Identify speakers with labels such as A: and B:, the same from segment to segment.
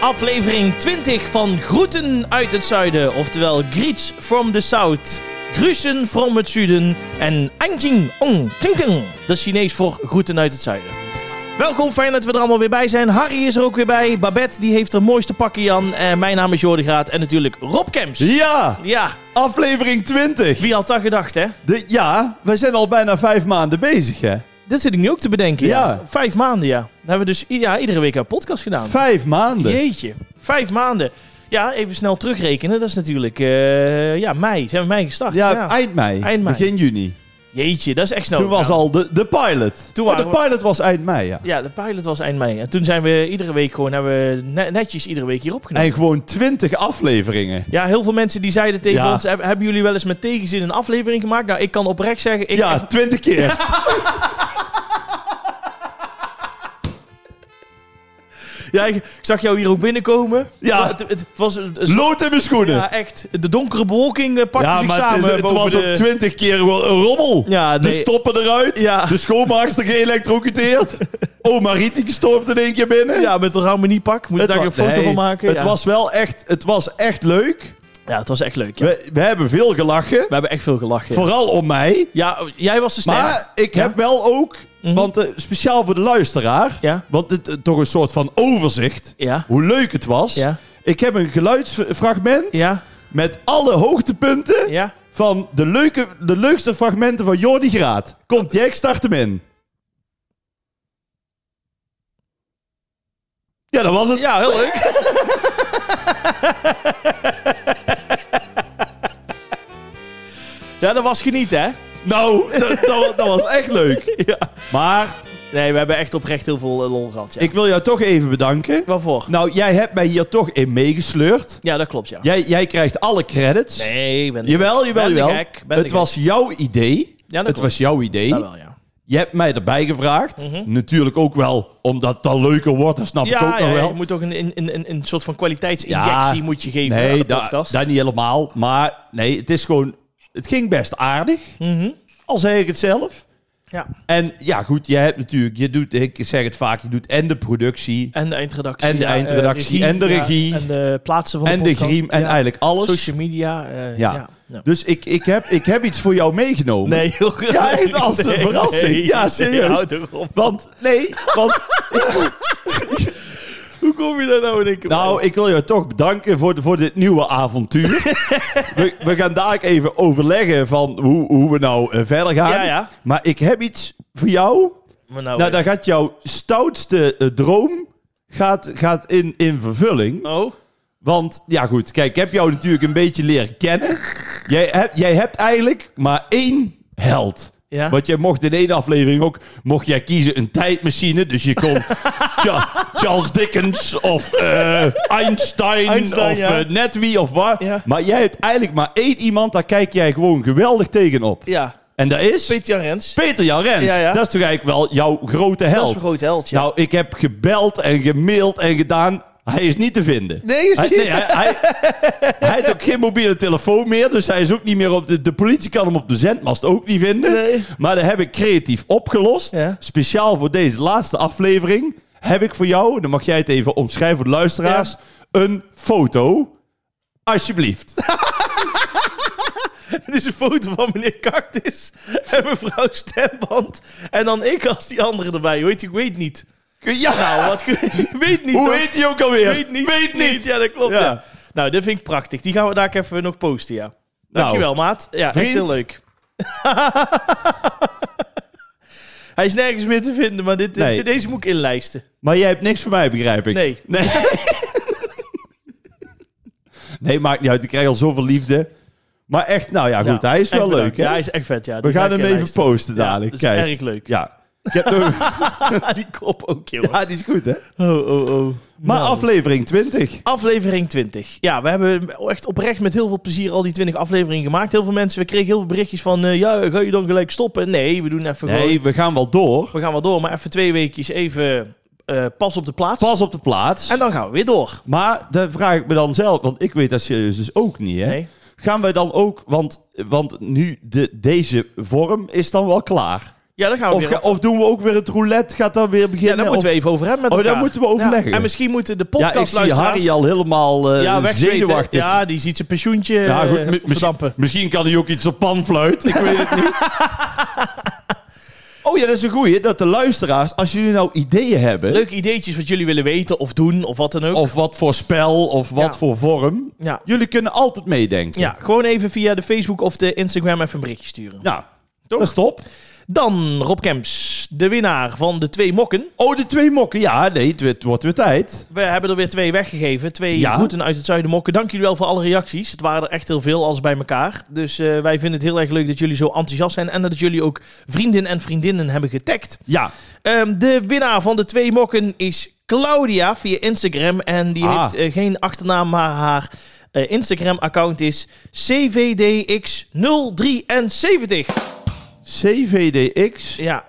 A: Aflevering 20 van Groeten uit het Zuiden, oftewel Griets from the South. Grusen from het Zuiden en Anjing Ong Ting Ting. Dat is Chinees voor Groeten uit het Zuiden. Welkom, fijn dat we er allemaal weer bij zijn. Harry is er ook weer bij. Babette die heeft haar mooiste pakje aan. En mijn naam is Jordi Graat en natuurlijk Rob Kemps.
B: Ja,
A: Ja,
B: aflevering 20.
A: wie had dat gedacht, hè?
B: De, ja, wij zijn al bijna vijf maanden bezig, hè?
A: Dat zit ik nu ook te bedenken.
B: Ja.
A: Vijf maanden, ja. Dan hebben we dus i- ja, iedere week een podcast gedaan.
B: Vijf maanden.
A: Jeetje, vijf maanden. Ja, even snel terugrekenen. Dat is natuurlijk, eh, ja, mei. Zijn we mei gestart?
B: ja, eind mei,
A: Eind mei.
B: begin juni.
A: Jeetje, dat is echt snel.
B: Toen was
A: gegaan.
B: al de, de pilot.
A: Toen
B: Oh, de
A: waren we-
B: pilot was eind mei, ja.
A: Ja, de pilot was eind mei. En toen zijn we iedere week gewoon, hebben we ne- netjes iedere week hier opgenomen.
B: En gewoon 20 afleveringen.
A: Ja, heel veel mensen die zeiden tegen
B: Ja.
A: ons, "Heb- hebben jullie wel eens met tegenzin een aflevering gemaakt? Nou, ik kan oprecht zeggen, ik,
B: ja, 20 keer.
A: ja, ik, ik zag jou hier ook binnenkomen.
B: Ja.
A: Het, het, het was... het- het-
B: Lood in mijn schoenen.
A: dus- ja, echt. De donkere bewolking eh, pakte
B: Ja,
A: zich
B: maar het,
A: samen.
B: is- het
A: boven
B: was
A: de...
B: ook 20 keer gewoon een rommel.
A: Ja,
B: De
A: nee.
B: stoppen eruit.
A: Ja.
B: De schoonmaakster geëlektrocuteerd. Oma Rietje stormt in één keer binnen.
A: Ja, met een harmoniepak. Moet ik daar
B: wa-
A: een foto
B: nee,
A: van maken?
B: Het
A: ja.
B: was wel echt, het was echt leuk.
A: ja, het was echt leuk. Ja. We,
B: We, we hebben veel gelachen.
A: hebben echt veel gelachen. ja.
B: Vooral om mij.
A: Ja, oh, jij was de ster.
B: Maar ik
A: Ja?
B: heb wel ook,
A: Mhm.
B: want eh, speciaal voor de luisteraar,
A: Ja,
B: want dit, eh, toch een soort van overzicht,
A: ja,
B: hoe leuk het was.
A: ja,
B: Ik heb een geluidsfragment
A: ja,
B: met alle hoogtepunten
A: ja.
B: van de, leuke, de leukste fragmenten van Jordi Graat. Komt jij, ik start hem in. Ja, dat was het.
A: Ja, heel leuk. ja, dat was genieten, hè?
B: Nou, dat, dat, dat was echt leuk. Maar
A: Nee, we hebben echt oprecht heel veel eh, lol gehad, ja.
B: ik wil jou toch even bedanken.
A: Waarvoor?
B: Nou, jij hebt mij hier toch in meegesleurd.
A: Ja, dat klopt, ja.
B: Jij, jij krijgt alle credits.
A: Nee, ik ben
B: Jawel, jawel,
A: Ben ik
B: jawel.
A: gek? Ben
B: het
A: ik
B: was jouw idee.
A: Ja, dat
B: het
A: klopt.
B: was jouw idee.
A: Ja, wel, ja.
B: Je hebt mij erbij gevraagd. Natuurlijk ook wel omdat het dan leuker wordt. Dat snap ik ook
A: Ja,
B: nog
A: ja,
B: wel.
A: je moet toch een, een, een, een soort van kwaliteitsinjectie
B: Ja.
A: moet je geven aan
B: nee,
A: de
B: da-
A: podcast.
B: dat niet helemaal. Maar nee, het is gewoon... Het ging best aardig.
A: Mhm.
B: Al zeg ik het zelf.
A: Ja,
B: En ja, goed. Je hebt natuurlijk... Je doet, ik zeg het vaak. Je doet en de productie.
A: en de eindredactie.
B: En de
A: ja, eh,
B: eindredactie, en de
A: ja,
B: regie.
A: en de plaatsen van
B: En
A: de
B: de
A: podcast.
B: griem. En
A: ja.
B: eigenlijk alles.
A: Social media. eh,
B: Ja.
A: ja. ja.
B: Dus ik, ik, heb, ik heb iets voor jou meegenomen.
A: Nee, heel graag.
B: Ja, echt als een verrassing. Ja, serieus.
A: houd toch op.
B: Want, nee, want
A: Hoe kom je daar nou in één keer
B: Nou,
A: bij?
B: ik wil jou toch bedanken voor, de- voor dit nieuwe avontuur. we, we gaan daar even overleggen van hoe, hoe we nou eh, verder gaan.
A: Ja, ja.
B: Maar ik heb iets voor jou.
A: Maar nou,
B: nou, daar gaat jouw stoutste eh, droom gaat, gaat in, in vervulling.
A: oh,
B: Want, ja goed, kijk, ik heb jou natuurlijk een beetje leren kennen. Jij, hebt jij hebt eigenlijk maar één held.
A: ja.
B: Want jij mocht in één aflevering ook, mocht jij kiezen een tijdmachine. Dus je kon Cha- Charles Dickens of eh, Einstein,
A: Einstein,
B: of
A: ja.
B: eh, net wie of waar.
A: Ja.
B: Maar jij hebt eigenlijk maar één iemand, daar kijk jij gewoon geweldig tegenop.
A: ja,
B: En dat is
A: Peter Jan Rens.
B: Peter Jan Rens.
A: Ja, ja.
B: Dat is toch eigenlijk wel jouw grote
A: dat is
B: held.
A: een groot held, ja.
B: Nou, ik heb gebeld en gemaild en gedaan. Hij is niet te vinden.
A: nee, is
B: Hij, nee, hij, hij, hij heeft ook geen mobiele telefoon meer, dus hij is ook niet meer op de... De politie kan hem op de zendmast ook niet vinden.
A: Nee.
B: Maar dat heb ik creatief opgelost.
A: Ja.
B: Speciaal voor deze laatste aflevering heb ik voor jou, dan mag jij het even omschrijven voor de luisteraars, een foto. Alsjeblieft.
A: Het is een foto van meneer Cactus en mevrouw Stemband. En dan ik als die andere erbij. Hoe heet die? Ik weet niet.
B: Ja,
A: Nou, wat... Ik weet niet,
B: hoe
A: hoor.
B: heet hij ook alweer?
A: Weet niet.
B: Weet niet.
A: Ja, dat klopt,
B: Ja. Nou.
A: ja. Nou, dat vind ik prachtig. Die gaan we daar even nog posten, ja. Dankjewel, maat. Ja,
B: vriend.
A: echt heel leuk. Hij is nergens meer te vinden, maar dit, dit-
B: Nee.
A: deze moet ik inlijsten.
B: Maar jij hebt niks voor mij, begrijp ik.
A: Nee.
B: Nee. nee, maakt niet uit. Ik krijg al zoveel liefde. Maar echt, nou ja, goed.
A: Ja,
B: hij is
A: echt
B: wel
A: bedankt.
B: leuk, hè?
A: Ja, hij is echt vet, ja.
B: We
A: Die ga
B: gaan
A: ik
B: hem even
A: inlijsten.
B: posten dadelijk.
A: Dat is
B: Kijk.
A: erg leuk.
B: Ja. Ik heb nog-
A: die kop ook, joh.
B: ja, Ah, die is goed, hè?
A: Oh, oh, oh.
B: Maar
A: Nou.
B: aflevering 20.
A: Aflevering 20. Ja, we hebben echt oprecht met heel veel plezier al die 20 afleveringen gemaakt. Heel veel mensen, we kregen heel veel berichtjes van... eh, ja, ga je dan gelijk stoppen? Nee, we doen even
B: Nee,
A: gewoon...
B: we gaan wel door.
A: We gaan wel door, maar even twee weekjes even eh, pas op de plaats.
B: Pas op de plaats.
A: En dan gaan we weer door.
B: Maar daar vraag ik me dan zelf, want ik weet dat serieus dus ook niet, hè?
A: Nee.
B: Gaan wij dan ook, want, want nu de, deze vorm is dan wel klaar.
A: Ja, daar gaan we
B: Of,
A: weer
B: ga-
A: op.
B: of doen we ook weer het roulette? Gaat daar weer
A: Ja,
B: beginnen?
A: daar moeten
B: of,
A: we even over hebben met
B: Oh, daar
A: elkaar.
B: moeten we
A: Ja,
B: overleggen.
A: En misschien moeten de
B: ja, ik zie
A: podcastluisteraars...
B: Harry al helemaal eh
A: ja, wegzweten.
B: zenuwachtig.
A: Ja, eh, die ziet zijn pensioentje ja,
B: Ja, mi- misschien,
A: verdampen.
B: misschien kan hij ook iets op panfluit. Ik weet het niet. Oh ja, dat is een goeie. Dat de luisteraars, als jullie nou ideeën hebben...
A: Leuke ideetjes wat jullie willen weten of doen of wat dan ook.
B: Of wat voor spel, of
A: Ja.
B: wat voor vorm.
A: Ja.
B: Jullie kunnen altijd meedenken.
A: ja, gewoon even via de Facebook of de Instagram even een berichtje sturen.
B: Nou, dat is top.
A: Dan Rob Kemps, de winnaar van de twee mokken.
B: Oh, de twee mokken. Ja, nee, het, het wordt weer tijd.
A: We hebben er weer twee weggegeven. Twee
B: Ja.
A: groeten uit het zuiden mokken. Dank jullie wel voor alle reacties. Het waren er echt heel veel, alles bij elkaar. Dus eh, wij vinden het heel erg leuk dat jullie zo enthousiast zijn. En dat jullie ook vrienden en vriendinnen hebben getagd.
B: Ja,
A: Ehm, de winnaar van de twee mokken is Claudia via Instagram. En die
B: Ah.
A: heeft eh, geen achternaam, maar haar eh, Instagram-account is CVDX073.
B: CVDX.
A: Ja,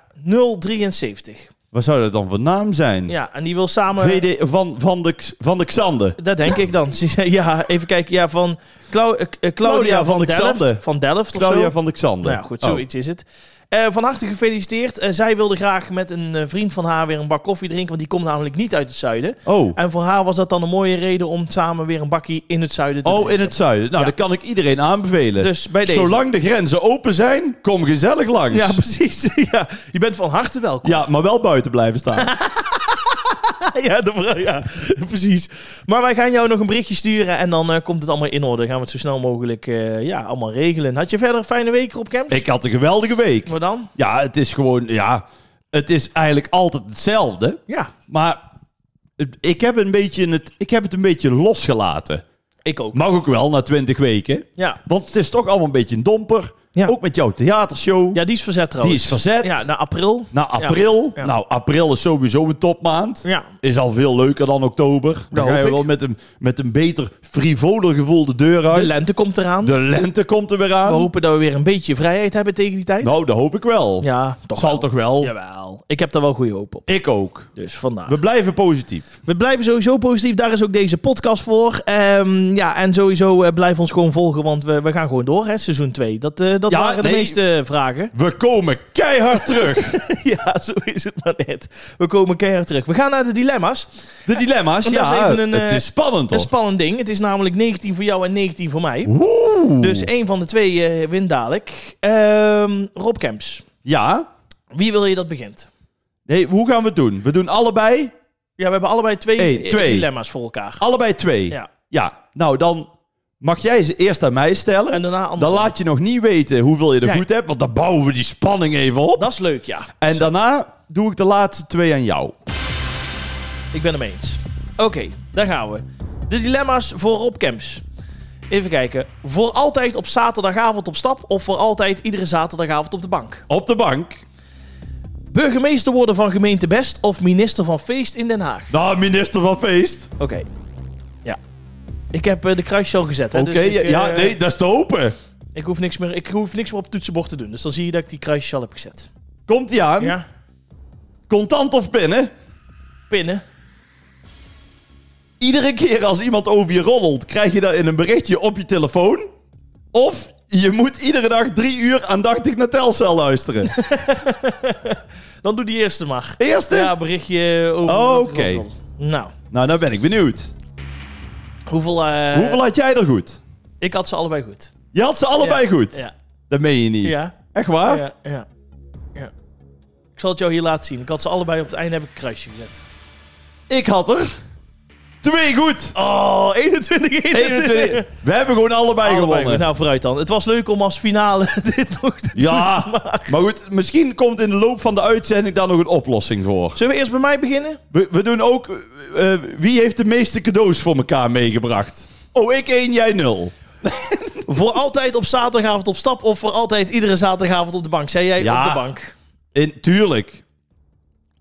A: 073.
B: Wat zou dat dan voor naam zijn?
A: Ja, en die wil samen...
B: VD, van, van, de, X- van de Xander.
A: Dat denk ik dan. Ze zei, Ja, even kijken. Ja, van Clau- eh, eh, Claudia
B: van
A: van,
B: de Xander.
A: Delft. Van Delft of
B: Claudia
A: zo.
B: van de Oh. Xander.
A: Nou ja, goed, zoiets is het. Eh, van harte gefeliciteerd. Eh, zij wilde graag met een eh, vriend van haar weer een bak koffie drinken, want die komt namelijk niet uit het zuiden.
B: Oh. Oh.
A: En voor haar was dat dan een mooie reden om samen weer een bakkie in het zuiden te
B: Oh,
A: drinken.
B: in het zuiden. Nou,
A: Ja.
B: dat kan ik iedereen aanbevelen.
A: Dus bij deze.
B: Zolang de grenzen open zijn, kom gezellig langs.
A: Ja, precies. Ja, je bent van harte welkom.
B: Ja, maar wel buiten blijven staan.
A: Ja, de vrouw, ja, precies. Maar wij gaan jou nog een berichtje sturen en dan eh, komt het allemaal in orde. Gaan we het zo snel mogelijk eh, ja, allemaal regelen. Had je verder een fijne week op camp?
B: ik had een geweldige week.
A: Maar dan?
B: Ja, het is gewoon, ja, het is eigenlijk altijd hetzelfde.
A: Ja,
B: Maar het- ik heb, een beetje het, ik heb het een beetje losgelaten.
A: ik ook.
B: Mag ook wel, na twintig weken.
A: Ja.
B: Want het is toch allemaal een beetje een domper.
A: Ja.
B: Ook met jouw theatershow.
A: ja, die is verzet
B: Die
A: trouwens.
B: is verzet.
A: Ja, naar april.
B: Na april.
A: Ja.
B: Nou, april is sowieso een topmaand.
A: Ja.
B: Is al veel leuker dan oktober. Dan
A: Dat
B: ga je
A: hoop
B: wel
A: ik.
B: met een, met een beter, frivoler gevoel de deur
A: De
B: uit.
A: lente komt eraan.
B: De lente komt er weer
A: We
B: aan.
A: hopen dat we weer een beetje vrijheid hebben tegen die tijd.
B: Nou, dat hoop ik wel.
A: Ja, toch
B: Zal
A: wel.
B: toch wel?
A: Jawel. Ik heb daar wel goede hoop op.
B: Ik ook.
A: Dus vandaar.
B: We blijven positief.
A: We blijven sowieso positief. Daar is ook deze podcast voor. Ehm, ja, en sowieso eh, blijf ons gewoon volgen, want we, we gaan gewoon door, hè, seizoen 2. Dat, eh, dat
B: Ja,
A: waren de
B: nee.
A: meeste vragen.
B: We komen keihard terug.
A: ja, zo is het maar net. We komen keihard terug. We gaan naar de dilemma's.
B: De dilemma's,
A: Want dat is
B: ja.
A: even een,
B: het
A: eh,
B: is spannend,
A: Een
B: toch?
A: spannend ding. Het is namelijk 19 voor jou en 19 voor mij.
B: Oeh.
A: Dus één van de twee eh, wint dadelijk. Ehm, Rob Kemps,
B: Ja.
A: wie wil je dat begint?
B: Nee, hoe gaan we het doen? We doen allebei,
A: Ja, we hebben allebei twee,
B: Eén,
A: eh,
B: twee.
A: dilemma's voor elkaar.
B: allebei twee.
A: Ja.
B: Ja. Nou, dan mag jij ze eerst aan mij stellen.
A: En daarna
B: Dan
A: andersom.
B: laat je nog niet weten hoeveel je er
A: Ja.
B: goed hebt, want dan bouwen we die spanning even op.
A: Dat is leuk, ja.
B: en daarna doe ik de laatste twee aan jou.
A: Ik ben hem eens. Oké, daar gaan we. De dilemma's voor Rob Kemps. Even kijken. Voor altijd op zaterdagavond op stap of voor altijd iedere zaterdagavond op de bank?
B: Op de bank.
A: Burgemeester worden van gemeente Best of minister van Feest in Den Haag?
B: Nou, minister van Feest.
A: Oké. Ja. Ik heb eh, de kruisjes al gezet. hè,
B: Oké,
A: dus ik,
B: ja,
A: eh,
B: ja, nee, dat is te hopen.
A: ik, hoef niks meer, ik hoef niks meer op het toetsenbord te doen. Dus dan zie je dat ik die kruisjes al heb gezet.
B: Komt ie aan.
A: Ja.
B: Contant of pinnen?
A: Pinnen.
B: Iedere keer als iemand over je roddelt, krijg je dat in een berichtje op je telefoon. Of je moet iedere dag drie uur aandachtig naar Telcel luisteren.
A: Dan doe die eerste maar.
B: Eerste?
A: Ja, berichtje over...
B: Oh,
A: wat-
B: oké.
A: wat- wat- Nou,
B: Nou, nou ben ik benieuwd.
A: hoeveel... eh,
B: Hoeveel had jij er goed?
A: Ik had ze allebei goed.
B: Je had ze allebei
A: Ja,
B: goed.
A: Ja.
B: Dat meen je niet.
A: Ja.
B: Echt waar?
A: Ja, ja, ja. Ik zal het jou hier laten zien. Ik had ze allebei op het einde heb ik een kruisje gezet.
B: Ik had er twee goed.
A: Oh, 21,
B: 21. We hebben gewoon allebei,
A: Allebei
B: gewonnen.
A: goed. Nou, vooruit dan. Het was leuk om als finale dit nog te doen.
B: Ja, maar goed, misschien komt in de loop van de uitzending daar nog een oplossing voor.
A: Zullen we eerst bij mij beginnen?
B: We, we doen ook, eh, eh, wie heeft de meeste cadeaus voor elkaar meegebracht? Oh, ik één, jij nul.
A: voor altijd op zaterdagavond op stap of voor altijd iedere zaterdagavond op de bank? Zei jij
B: Ja.
A: op de bank?
B: In, tuurlijk.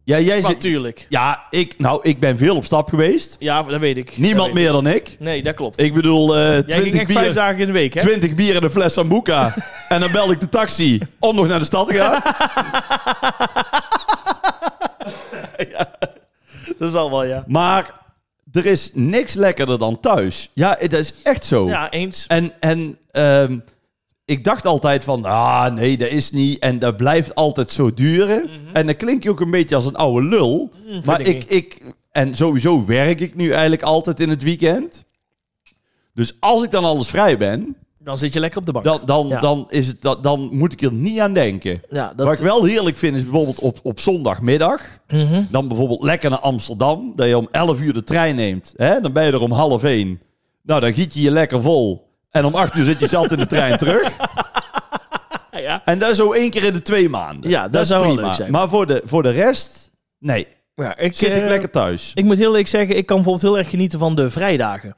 B: Ja, jij zit...
A: Natuurlijk.
B: Ja, ik, nou, ik ben veel op stap geweest.
A: Ja, dat weet ik.
B: Niemand
A: Dat weet
B: meer dan ik.
A: ik. Nee, dat klopt.
B: Ik bedoel, eh
A: jij ging
B: 20
A: echt vijf
B: bier,
A: dagen in de week, hè?
B: 20 bier en een fles Sambuca. en dan bel ik de taxi om nog naar de stad te gaan.
A: Dat is al wel,
B: Oh.
A: ja.
B: Maar er is niks lekkerder dan thuis. Ja, dat is echt zo.
A: Ja, eens.
B: En, en ehm, ik dacht altijd van, ah nee, dat is niet. En dat blijft altijd zo duren. En dan klink je ook een beetje als een oude lul. maar
A: Mhm. vind ik
B: ik, ik, en sowieso werk ik nu eigenlijk altijd in het weekend. Dus als ik dan alles vrij ben,
A: Dan zit je lekker op de bank.
B: dan, dan,
A: Ja.
B: dan, is het, dan, dan moet ik er niet aan denken.
A: ja, dat,
B: Wat ik wel heerlijk vind is bijvoorbeeld op, op zondagmiddag.
A: Mhm.
B: Dan bijvoorbeeld lekker naar Amsterdam. Dat je om 11 uur de trein neemt. Hè? Dan ben je er om half 1. Nou, dan giet je je lekker vol. En om 8 uur zit je zelf in de trein terug.
A: Ah, ja.
B: En dat zo één keer in de twee maanden.
A: Ja, dat
B: is
A: zou wel
B: prima.
A: leuk zijn.
B: Maar voor de, voor de rest, nee.
A: Ja, ik,
B: Zit ik
A: eh,
B: lekker thuis.
A: ik moet heel eerlijk zeggen, ik kan bijvoorbeeld heel erg genieten van de vrijdagen.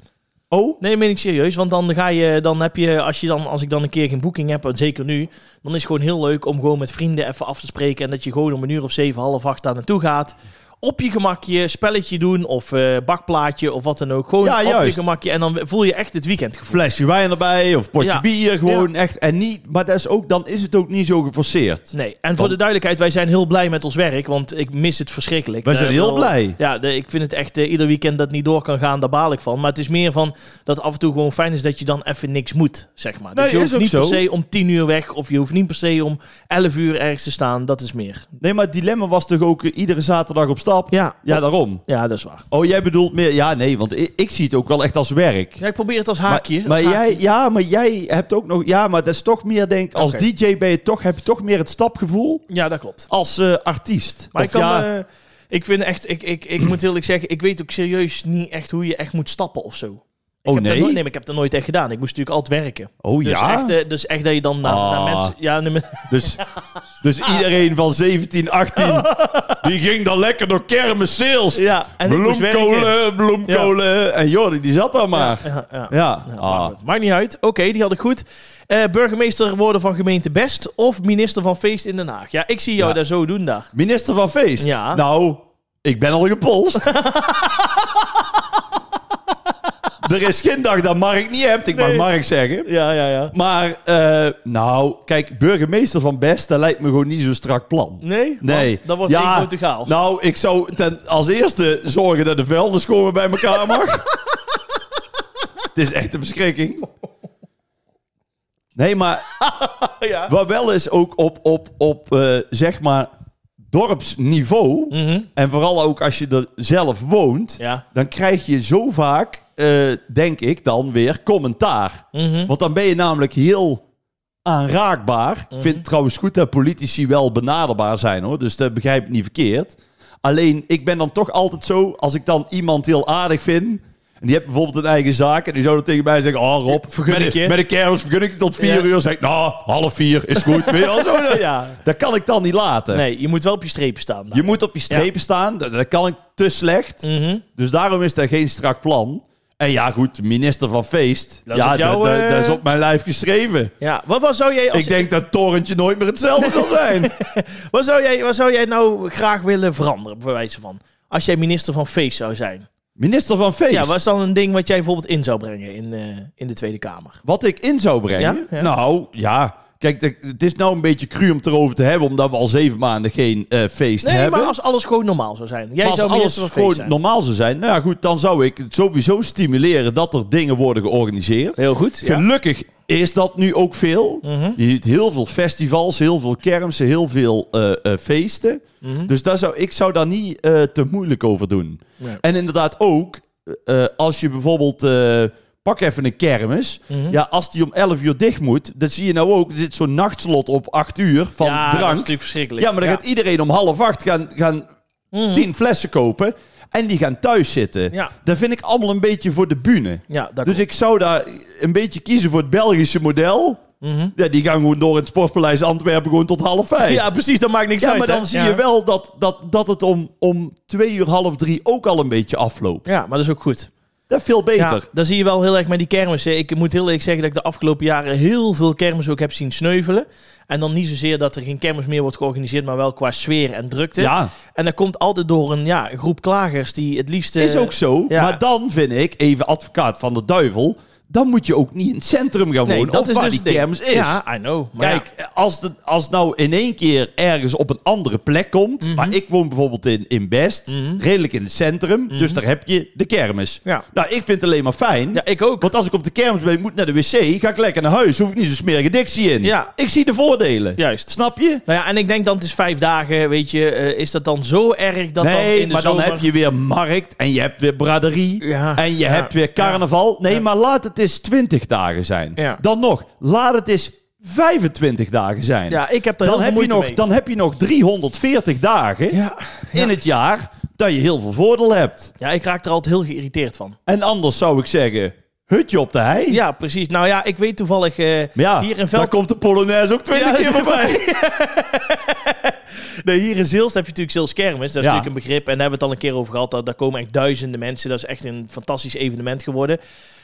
B: Oh,
A: Nee, meen ik serieus. Want dan ga je, dan heb je, als je dan, als ik dan een keer geen boeking heb, en zeker nu, dan is het gewoon heel leuk om gewoon met vrienden even af te spreken. En dat je gewoon om een uur of zeven, half acht daar naartoe gaat. Op je gemakje, spelletje doen of eh, bakplaatje of wat dan ook. Gewoon
B: Ja,
A: op
B: juist.
A: je gemakje. En dan voel je echt het weekendgevoel.
B: flesje wijn erbij of potje
A: Ja.
B: bier. Gewoon echt. En niet, maar dat is ook, dan is het ook niet zo geforceerd.
A: Nee, en voor de duidelijkheid, wij zijn heel blij met ons werk, want ik mis het verschrikkelijk.
B: Wij zijn
A: Eh,
B: heel
A: wel-
B: blij.
A: Ja, de- ik vind het echt, eh, ieder weekend dat niet door kan gaan, daar baal ik van. Maar het is meer van dat af en toe gewoon fijn is dat je dan even niks moet, zeg maar.
B: Nee,
A: dus je
B: is
A: hoeft
B: ook
A: niet per
B: zo.
A: se om tien uur weg, of je hoeft niet per se om elf uur ergens te staan, dat is meer.
B: Nee, maar het dilemma was toch ook eh, iedere zaterdag op stap?
A: Ja,
B: Ja, daarom.
A: ja dat is waar.
B: Oh, jij bedoelt meer... Ja, nee, want ik, ik zie het ook wel echt als werk.
A: Ja, ik probeer het als haakje.
B: maar
A: als
B: jij,
A: haakje.
B: ja, maar jij hebt ook nog... Ja, maar dat is toch meer, denk ik... Als
A: Oké.
B: DJ ben je toch, heb je toch meer het stapgevoel
A: Ja, dat klopt.
B: als eh, artiest.
A: Maar
B: Of
A: ik kan...
B: ja,
A: eh, ik vind echt, ik, ik, ik moet eerlijk zeggen, ik weet ook serieus niet echt hoe je echt moet stappen of zo. Ik
B: Oh,
A: heb dat
B: nee?
A: nooit- nee, maar ik heb dat nooit echt gedaan. Ik moest natuurlijk altijd werken.
B: oh
A: Dus,
B: ja?
A: echt, eh, dus echt dat je dan naar,
B: Ah.
A: naar mensen... Ja, nee, maar-
B: Dus, dus iedereen van 17, 18... die ging dan lekker door kermis sales.
A: ja, en ik moest werken.
B: bloemkolen, bloemkolen. En Jordi, die zat daar maar. Ja.
A: Ja, ja. Ja, maar
B: Ah.
A: goed. Maakt niet uit. Oké, die had ik goed. Eh, burgemeester worden van gemeente Best of minister van Feest in Den Haag. Ja, ik zie jou
B: Ja.
A: daar zo doen daar.
B: Minister van Feest?
A: Ja.
B: Nou, ik ben al gepolst. er is geen dag dat Mark niet hebt, ik
A: Nee.
B: mag Mark zeggen.
A: Ja, ja, ja.
B: Maar, eh, nou, kijk, burgemeester van Best, dat lijkt me gewoon niet zo'n strak plan.
A: Nee?
B: Nee.
A: Want dan wordt
B: Ja,
A: één grote chaos.
B: Nou, ik zou ten, als eerste zorgen dat de vuilnis komen bij elkaar mag. Het is echt een beschikking. Nee, maar
A: ja.
B: wat wel is ook op, op, op eh, zeg maar, dorpsniveau...
A: Mhm.
B: En vooral ook als je er zelf woont,
A: Ja.
B: dan krijg je zo vaak, eh, denk ik dan weer, commentaar.
A: Mhm.
B: Want dan ben je namelijk heel aanraakbaar. Ik
A: Mhm.
B: vind het trouwens goed dat politici wel benaderbaar zijn hoor, dus dat begrijp ik niet verkeerd. Alleen ik ben dan toch altijd zo, als ik dan iemand heel aardig vind. En die heeft bijvoorbeeld een eigen zaak. En die zou dan tegen mij zeggen: Oh, Rob,
A: vergun
B: met,
A: ik
B: de-
A: je."
B: met de kermis vergun ik je tot vier
A: Ja.
B: uur. Zeg ik: Nou, half vier is goed. Weet je wel, zo, dat,
A: ja.
B: dat kan ik dan niet laten.
A: Nee, je moet wel op je strepen staan. daar.
B: Je moet op je strepen staan. Dat, dat kan ik te slecht.
A: Mhm.
B: Dus daarom is er geen strak plan. En ja, goed, minister van Feest.
A: Dat is
B: ja,
A: op jou,
B: dat- dat-
A: eh,
B: dat is op mijn lijf geschreven.
A: Ja, wat, wat zou jij als...
B: ik denk dat torentje nooit meer hetzelfde zal zijn.
A: Wat zou jij, wat zou jij nou graag willen veranderen, bij wijze van? Als jij minister van Feest zou zijn.
B: Minister van Feest.
A: Ja, was dan een ding wat jij bijvoorbeeld in zou brengen in, eh, in de Tweede Kamer?
B: Wat ik in zou brengen?
A: Ja, ja.
B: Nou, ja. Kijk, de- het is nou een beetje cru om het erover te hebben, omdat we al zeven maanden geen eh, feest
A: Nee,
B: hebben.
A: maar als alles gewoon normaal zou zijn. Jij
B: Maar als
A: zou
B: alles
A: minister van Feest
B: gewoon
A: zijn.
B: normaal zou zijn, nou ja, goed, dan zou ik het sowieso stimuleren dat er dingen worden georganiseerd.
A: Heel goed. Ja.
B: Gelukkig is dat nu ook veel.
A: Mhm.
B: Je ziet heel veel festivals, heel veel kermissen, heel veel eh, eh, feesten.
A: Mhm.
B: Dus daar zou, ik zou daar niet eh, te moeilijk over doen.
A: Nee.
B: En inderdaad ook, eh, eh, als je bijvoorbeeld... eh, pak even een kermis.
A: Mhm.
B: Ja, als die om 11 uur dicht moet, dat zie je nou ook. Er zit zo'n nachtslot op 8 uur van
A: ja, dat is
B: drank.
A: natuurlijk verschrikkelijk.
B: Ja, maar dan gaat iedereen om half acht gaan, gaan
A: Mhm.
B: 10 flessen kopen. En die gaan thuis zitten.
A: Ja.
B: Dat vind ik allemaal een beetje voor de bühne.
A: Ja, dat
B: Dus
A: klopt.
B: ik zou daar een beetje kiezen voor het Belgische model.
A: Mhm.
B: Ja, die gaan gewoon door in het Sportpaleis Antwerpen gewoon tot half vijf.
A: Ja, precies. Dat maakt niks
B: Ja,
A: uit.
B: maar
A: hè?
B: dan zie
A: Ja.
B: je wel dat, dat, dat het om, om twee uur, half drie ook al een beetje afloopt.
A: Ja, maar dat is ook goed.
B: Dat is veel
A: Ja,
B: beter.
A: dan zie je wel heel erg met die kermissen. Ik moet heel eerlijk zeggen dat ik de afgelopen jaren heel veel kermissen ook heb zien sneuvelen. En dan niet zozeer dat er geen kermis meer wordt georganiseerd, maar wel qua sfeer en drukte.
B: Ja,
A: En dat komt altijd door een ja, groep klagers die het liefst... eh,
B: is ook zo.
A: ja.
B: Maar dan vind ik, even advocaat van de duivel, dan moet je ook niet in het centrum gaan wonen. of waar die
A: dus het ding.
B: kermis is.
A: Ja, I know. Maar
B: Kijk, als, de, als nou in één keer ergens op een andere plek komt.
A: Mhm.
B: Maar ik woon bijvoorbeeld in, in Best, redelijk in het centrum. Dus daar heb je de kermis.
A: Mhm. Ja.
B: Nou, ik vind het alleen maar fijn.
A: Ja, ja ik ook.
B: Want als ik op de kermis ben, moet naar de wc, ga ik lekker naar huis. Hoef ik niet zo'n smerige dictie in.
A: Ja.
B: Ik zie de voordelen.
A: Juist.
B: Snap je?
A: Nou ja, en ik denk dan, het is vijf dagen, weet je, eh, is dat dan zo erg dat dan
B: nee,
A: in de
B: maar dan
A: zomer...
B: heb je weer markt en je hebt weer braderie
A: Ja,
B: en je
A: ja,
B: hebt weer carnaval. Nee, maar laat het eens 20 dagen zijn.
A: Ja.
B: Dan nog, laat het eens 25 dagen zijn.
A: Ja, ik heb er
B: dan,
A: heel
B: heb
A: veel
B: je
A: moeite
B: nog,
A: mee.
B: dan heb je nog 340 dagen
A: Ja.
B: in het jaar dat je heel veel voordeel hebt.
A: ja, ik raak er altijd heel geïrriteerd van.
B: En anders zou ik zeggen, hutje op de hei.
A: Ja, precies. Nou ja, ik weet toevallig eh,
B: Maar ja,
A: hier in
B: dan
A: Veld...
B: komt de Polonaise ook 20
A: Ja,
B: keer
A: dat-
B: voorbij.
A: Nee, hier in Zeelst heb je natuurlijk Zeels Kermis. Dat is
B: Ja.
A: natuurlijk een begrip. En daar hebben we het al een keer over gehad. Daar, daar komen echt duizenden mensen. Dat is echt een fantastisch evenement geworden.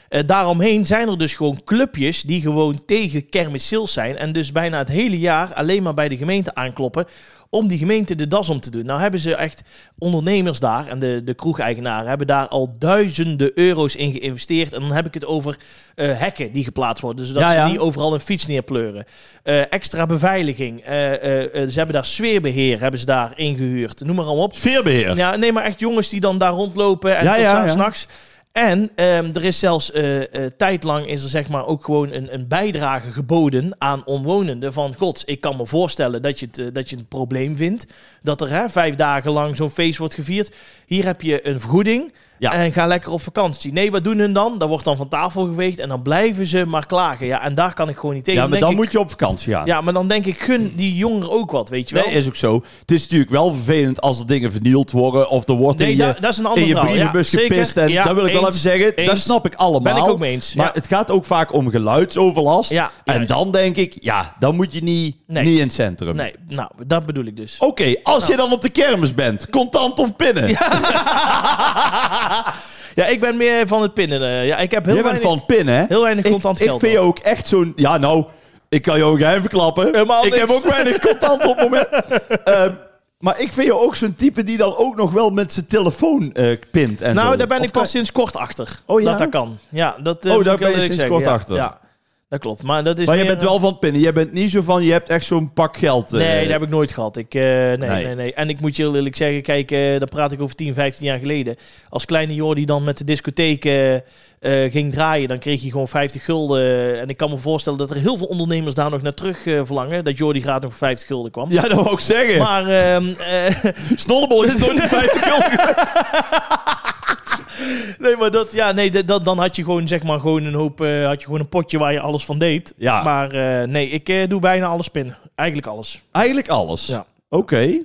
A: Eh, daaromheen zijn er dus gewoon clubjes die gewoon tegen Kermis Zeels zijn. En dus bijna het hele jaar alleen maar bij de gemeente aankloppen. Om die gemeente de das om te doen. Nou hebben ze echt ondernemers daar en de, de kroegeigenaren hebben daar al duizenden euro's in geïnvesteerd. En dan heb ik het over eh, hekken die geplaatst worden. Zodat
B: Ja, ja.
A: ze niet overal een fiets neerpleuren. Eh, extra beveiliging. Eh, eh, eh, ze hebben daar sfeerbeheer hebben ze daar ingehuurd. Noem maar allemaal op.
B: Sfeerbeheer.
A: Ja, nee, maar echt jongens die dan daar rondlopen en
B: Ja,
A: tot
B: ja,
A: s'nachts-
B: ja.
A: s'nachts. En ehm, er is zelfs eh eh, tijdlang is er zeg maar ook gewoon een, een bijdrage geboden aan omwonenden. Van god, ik kan me voorstellen dat je het, eh, dat je een probleem vindt. Dat er hè, vijf dagen lang zo'n feest wordt gevierd. Hier heb je een vergoeding
B: Ja.
A: en ga lekker op vakantie. Nee, wat doen hun dan? Dat wordt dan van tafel geweegd en dan blijven ze maar klagen. Ja, en daar kan ik gewoon niet tegen.
B: Ja, maar
A: denk
B: dan
A: ik-
B: moet je op vakantie gaan.
A: ja, maar dan denk ik, gun die jongeren ook wat, weet je wel?
B: Nee, is ook zo. Het is natuurlijk wel vervelend als er dingen vernield worden of er wordt
A: Nee,
B: in
A: da-
B: je,
A: dat is een ander
B: in je
A: verhaal. Ja,
B: brievenbus
A: zeker.
B: gepist. En
A: Ja,
B: dat wil ik wel
A: eens.
B: even zeggen. Dat
A: Eens.
B: snap ik allemaal.
A: Ben ik ook mee eens,
B: Maar
A: ja.
B: het gaat ook vaak om geluidsoverlast.
A: Ja,
B: en
A: juist.
B: dan denk ik, ja, dan moet je niet,
A: Nee.
B: niet in het centrum.
A: Nee, nou, dat bedoel ik dus.
B: Oké, als je dan op de kermis bent, contant of pinnen?
A: Ja, ik ben meer van het pinnen. eh. ja, ik heb heel
B: Jij bent
A: weinig...
B: van pinnen, hè?
A: heel weinig
B: Ik-
A: contant
B: ik,
A: geld,
B: vind je ook echt zo'n... Ja, nou, ik kan je ook geheim verklappen.
A: Helemaal
B: ik
A: niks.
B: heb ook weinig contant op het moment. Ehm, maar ik vind je ook zo'n type die dan ook nog wel met zijn telefoon eh pint en
A: nou,
B: zo.
A: daar ben
B: Of
A: ik
B: kan-
A: pas sinds kort achter.
B: Oh, ja?
A: Dat dat kan. Ja, dat, eh,
B: Oh,
A: moet
B: daar
A: ik wel
B: ben
A: eerlijk
B: je sinds
A: zeggen,
B: kort
A: ja.
B: achter.
A: Ja, dat klopt. Maar dat is
B: Maar je
A: meer,
B: bent wel van het pinnen. Je bent niet zo van, je hebt echt zo'n pak geld. eh.
A: Nee, dat heb ik nooit gehad. Ik, eh, nee,
B: Nee.
A: nee. Nee, En ik moet je heel eerlijk zeggen, kijk, eh dan praat ik over 10, 15 jaar geleden. Als kleine Jordi dan met de discotheek eh, eh, ging draaien, dan kreeg je gewoon 50 gulden. En ik kan me voorstellen dat er heel veel ondernemers daar nog naar terug eh, verlangen. Dat Jordi graag nog voor 50 gulden kwam.
B: Ja, dat wou ik zeggen. Maar...
A: Maar ehm, eh,
B: Snollebol is nooit de 50 gulden.
A: Nee, maar dat, ja, nee, dat, dat- dan had je gewoon, zeg maar, gewoon een hoop, eh, had je gewoon een potje waar je alles van deed.
B: Ja.
A: Maar eh, nee, ik eh, doe bijna alles pinnen. Eigenlijk alles.
B: Eigenlijk alles.
A: Ja.
B: Oké.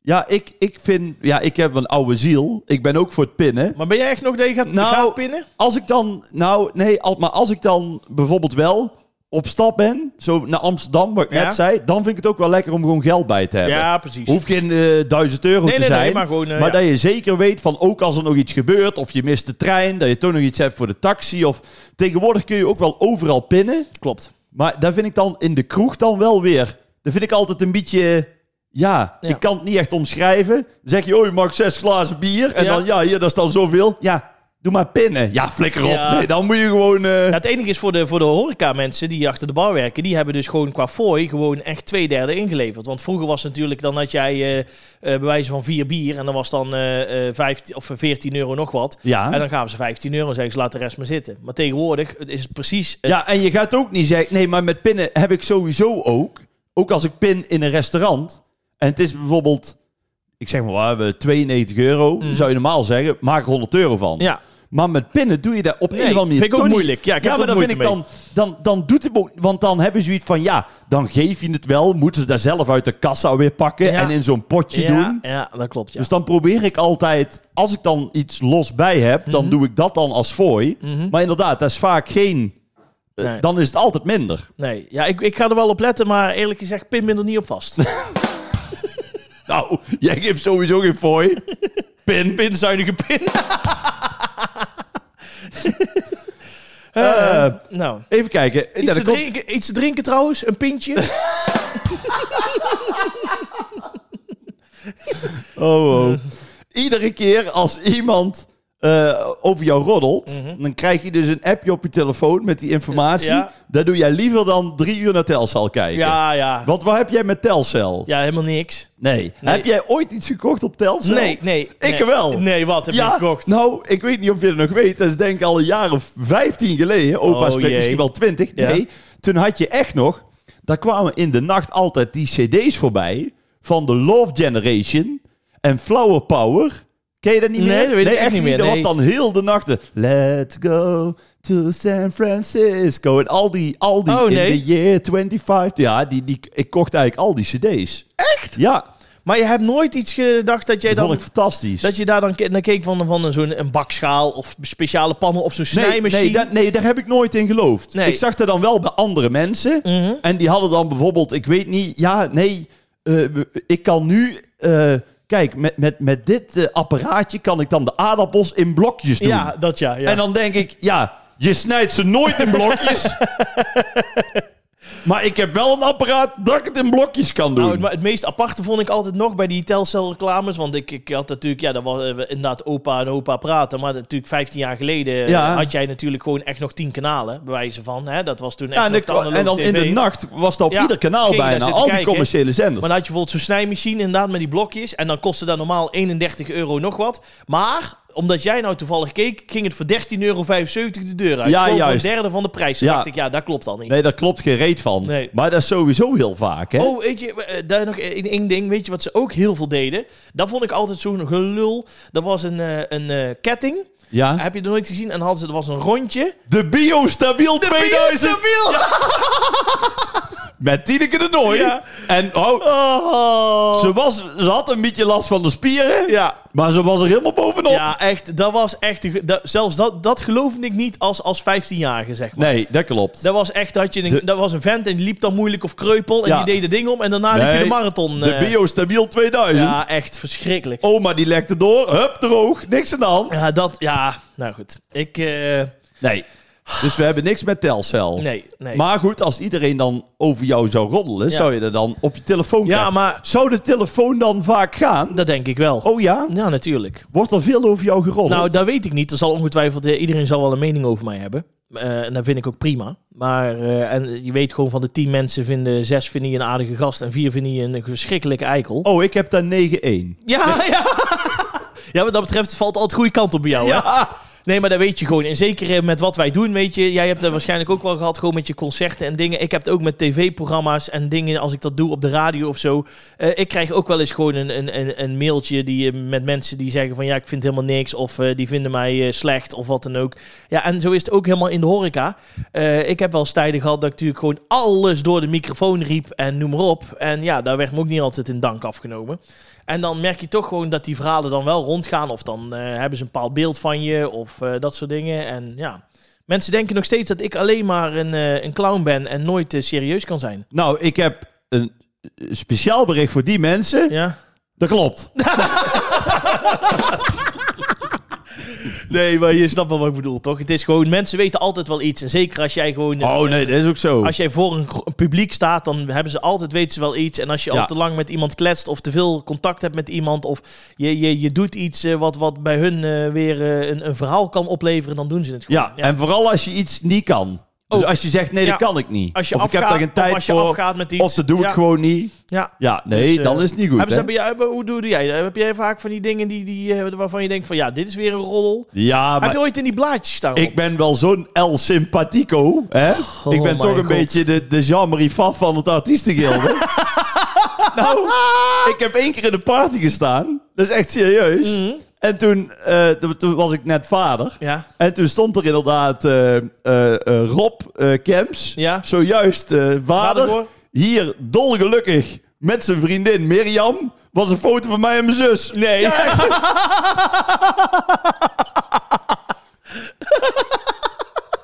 B: Ja, ik, ik vind... Ja, ik heb een oude ziel. Ik ben ook voor het pinnen.
A: Maar ben jij echt nog dat je gaat,
B: Nou,
A: gaat pinnen?
B: Als ik dan, nou nee, al- maar als ik dan bijvoorbeeld wel op stap ben, zo naar Amsterdam, wat ik
A: Ja.
B: net zei, dan vind ik het ook wel lekker om gewoon geld bij te hebben.
A: Ja, precies.
B: Hoeft geen eh, duizend euro
A: nee,
B: te
A: nee,
B: zijn.
A: nee, maar gewoon... eh,
B: maar
A: ja.
B: dat je zeker weet van ook als er nog iets gebeurt of je mist de trein, dat je toch nog iets hebt voor de taxi. Of tegenwoordig kun je ook wel overal pinnen.
A: Klopt.
B: Maar daar vind ik dan in de kroeg dan wel weer. Dat vind ik altijd een beetje. Ja,
A: Ja.
B: ik kan het niet echt omschrijven. Dan zeg je, oh, je mag zes glazen bier. En
A: Ja.
B: dan, ja, hier, dat is dan zoveel. Ja, doe maar pinnen. Ja, flikker op.
A: Ja.
B: Nee, dan moet je gewoon... eh,
A: Nou, het enige is voor de, voor de horeca-mensen die achter de bar werken, die hebben dus gewoon qua fooi gewoon echt twee derde ingeleverd. Want vroeger was het natuurlijk dan dat jij eh, eh, bij wijze van vier bier en dan was dan eh eh 15 of 14 euro nog wat.
B: ja.
A: En dan gaven ze 15 euro en zeggen ze laat de rest maar zitten. Maar tegenwoordig is het precies het
B: ja, en je gaat ook niet zeggen... Nee, maar met pinnen heb ik sowieso ook... Ook als ik pin in een restaurant... En het is bijvoorbeeld... Ik zeg maar, we hebben 92 euro.
A: Mhm.
B: Zou je normaal zeggen, maak er 100 euro van.
A: Ja,
B: Maar met pinnen doe je dat op een of
A: Nee,
B: andere manier
A: vind ik ook
B: toch niet.
A: moeilijk. Ja, ik
B: ja
A: heb
B: maar
A: er
B: dan
A: ook
B: vind ik dan,
A: moeite
B: dan, dan doet het ook... Want dan hebben ze zoiets van, ja, dan geef je het wel. Moeten ze daar zelf uit de kassa weer pakken
A: Ja.
B: en in zo'n potje
A: ja,
B: doen.
A: ja, dat klopt. Ja.
B: Dus dan probeer ik altijd, als ik dan iets los bij heb, dan doe ik dat dan als fooi.
A: Mhm.
B: Maar inderdaad, dat is vaak geen... eh,
A: Nee.
B: Dan is het altijd minder.
A: Nee, ja, ik, ik ga er wel op letten, maar eerlijk gezegd, pin me er niet op vast.
B: Nou, jij geeft sowieso geen fooi. Pin.
A: Pinzuinige pin.
B: Eh,
A: nou,
B: even kijken. Ja,
A: iets,
B: dat
A: te
B: komt-
A: drinken, iets te drinken trouwens, een pintje. Mhm.
B: Oh, oh. Iedere keer als iemand eh, eh, over jou roddelt, dan krijg je dus een appje op je telefoon met die informatie.
A: Mhm. Ja.
B: Dat doe jij liever dan drie uur naar Telcel kijken.
A: Ja, ja.
B: Want wat heb jij met Telcel?
A: Ja, helemaal niks.
B: Nee.
A: Nee.
B: Heb jij ooit iets gekocht op Telcel?
A: Nee, nee.
B: Ik
A: nee.
B: wel.
A: Nee, wat heb je gekocht?
B: nou, ik weet niet of je het nog weet. Dat is denk ik al een jaar of 15 geleden. Opa
A: Oh,
B: spreekt
A: jee.
B: misschien wel 20.
A: Ja.
B: Nee, toen had je echt nog... Daar kwamen in de nacht altijd die cd's voorbij... van de Love Generation en Flower Power... Ken je dat niet
A: Nee,
B: meer?
A: dat weet ik echt niet meer,
B: Dat
A: nee.
B: was dan heel de nachten. Let's go to San Francisco. En al die, al die
A: Oh, nee.
B: in the year 25. Ja, die, die, ik kocht eigenlijk al die cd's. Echt? Ja,
A: Maar je hebt nooit iets gedacht dat jij
B: dat vond
A: dan...
B: ik fantastisch.
A: Dat je daar dan ke- naar keek van, van zo'n een bakschaal of speciale pannen of zo'n
B: Nee,
A: snijmachine.
B: Nee, dat- nee, daar heb ik nooit in geloofd.
A: Nee.
B: Ik zag dat dan wel bij andere mensen.
A: Mhm.
B: En die hadden dan bijvoorbeeld, ik weet niet, ja, nee, eh, we- ik kan nu. eh, kijk, met, met, met dit eh, apparaatje kan ik dan de aardappels in blokjes doen.
A: Ja, dat ja. ja.
B: En dan denk ik, ja, je snijdt ze nooit in blokjes. maar ik heb wel een apparaat dat ik het in blokjes kan doen.
A: Nou, het, maar het meest aparte vond ik altijd nog bij die Telcel-reclames. Want ik, ik had natuurlijk, ja, dat was eh, inderdaad opa en opa praten. Maar natuurlijk 15 jaar geleden eh,
B: Ja.
A: had jij natuurlijk gewoon echt nog 10 kanalen, bij wijze van. Hè? Dat was toen echt
B: ja, en,
A: nog
B: ik-
A: de analoge
B: en dan in de
A: TV.
B: nacht was dat op
A: Ja,
B: ieder kanaal
A: ging je daar
B: bijna.
A: zitten
B: Al die
A: kijken.
B: commerciële zenders.
A: Maar dan had je bijvoorbeeld zo'n snijmachine inderdaad met die blokjes. En dan kostte dat normaal 31 euro nog wat. Maar omdat jij nou toevallig keek, ging het voor 13,75 euro de deur uit.
B: Ja,
A: Gewoon voor
B: juist.
A: een derde van de prijs. Dan
B: Ja.
A: dacht ik, ja, dat klopt al niet.
B: Nee, daar klopt geen reet van.
A: Nee.
B: Maar dat is sowieso heel vaak, hè?
A: Oh, weet je, eh, daar nog één één ding. Weet je wat ze ook heel veel deden? Dat vond ik altijd zo'n gelul. Dat was een, eh, een eh, ketting.
B: ja.
A: Heb je dat nooit gezien? En dan hadden ze, er was een rondje.
B: De Biostabiel 2000 met Tineke de Nooi.
A: Ja.
B: En oh,
A: Oh.
B: ze, was, ze had een beetje last van de spieren,
A: Ja.
B: maar ze was er helemaal bovenop.
A: Ja, echt. Dat was echt... een ge- Dat, zelfs dat, dat geloofde ik niet als, als 15-jarige, zeg maar.
B: Nee, dat klopt.
A: Dat was echt, had je een,
B: De-
A: dat was een vent en die liep dan moeilijk of kreupel en
B: Ja.
A: die deed het ding om en daarna liep
B: Nee,
A: je de marathon.
B: de
A: eh.
B: Biostabiel 2000.
A: ja, echt verschrikkelijk.
B: Oma die lekte door, hup, droog, niks aan de hand.
A: Ja, dat, ja, nou goed. Ik, eh,
B: Nee, dus we hebben niks met Telcel.
A: nee, nee.
B: Oh. Maar goed, als iedereen dan over jou zou roddelen,
A: Ja.
B: zou je dat dan op je telefoon
A: ja,
B: krijgen.
A: maar
B: Zou de telefoon dan vaak gaan?
A: dat denk ik wel.
B: Oh ja?
A: Ja, natuurlijk.
B: Wordt er veel over jou geroddeld?
A: Nou, dat weet ik niet. Er zal ongetwijfeld, eh, iedereen zal wel een mening over mij hebben. Eh, en dat vind ik ook prima. Maar eh, en je weet gewoon van de tien mensen vinden zes vinden je een aardige gast en vier vinden je een verschrikkelijke eikel.
B: Oh, ik heb daar 9-1.
A: Ja, ja. Ja, wat dat betreft valt altijd goede kant op bij jou. hè? Nee, maar dat weet je gewoon. En zeker eh, met wat wij doen, weet je. Jij hebt dat waarschijnlijk ook wel gehad, gewoon met je concerten en dingen. Ik heb het ook met tv-programma's en dingen, als ik dat doe op de radio of zo. Eh, ik krijg ook wel eens gewoon een, een, een, een mailtje die, eh, met mensen die zeggen van... ja, ik vind helemaal niks of eh, die vinden mij eh, slecht of wat dan ook. Ja, en zo is het ook helemaal in de horeca. Eh, ik heb wel eens tijden gehad dat ik natuurlijk gewoon alles door de microfoon riep en noem maar op. En ja, daar werd me ook niet altijd in dank afgenomen. En dan merk je toch gewoon dat die verhalen dan wel rondgaan. Of dan eh, hebben ze een bepaald beeld van je of eh, dat soort dingen. En ja, mensen denken nog steeds dat ik alleen maar een, eh, een clown ben en nooit eh, serieus kan zijn.
B: Nou, ik heb een eh, speciaal bericht voor die mensen.
A: Ja?
B: Dat klopt.
A: Nee, maar je snapt wel wat ik bedoel, toch? Het is gewoon, mensen weten altijd wel iets. En zeker als jij gewoon... eh,
B: Oh nee, dat is ook zo.
A: Als jij voor een, gro- een publiek staat, dan hebben ze altijd, weten ze wel iets. En als je
B: Ja.
A: al te lang met iemand kletst of te veel contact hebt met iemand... of je, je, je doet iets eh, wat, wat bij hun eh, weer eh, een, een verhaal kan opleveren, dan doen ze het gewoon.
B: Ja, en vooral als je iets niet kan. Dus
A: Ook.
B: als je zegt, nee,
A: Oh. Ja.
B: dat kan ik niet.
A: Als je,
B: of
A: afgaat,
B: ik heb daar geen
A: of
B: tijd
A: als je
B: voor.
A: afgaat met iets.
B: Of dat doe
A: Ja,
B: ik gewoon niet.
A: Ja.
B: Ja, nee,
A: Dus, eh,
B: dan is het niet goed.
A: Hebben ze
B: hè?
A: dat bij jou, hoe doe doe jij dat? Heb jij vaak van die dingen die, die, eh, waarvan je denkt van ja, dit is weer een roddel?
B: Ja,
A: Heb
B: maar
A: je ooit in die blaadjes staan?
B: ik ben wel zo'n El Simpatico. Hè? ik
A: my
B: ben toch een
A: Oh God.
B: beetje de, de Jean-Marie Faf van het artiestengilde. nou, ik heb één keer in de party gestaan. Dat is echt serieus.
A: Mhm.
B: En toen, eh, toen- toen was ik net vader.
A: Ja.
B: En toen stond er inderdaad eh, eh, eh, Rob eh, Kemps,
A: Ja.
B: zojuist eh,
A: Vader,
B: vader,
A: hoor.
B: hier dolgelukkig met zijn vriendin Mirjam. Was een foto van mij en mijn zus.
A: Nee.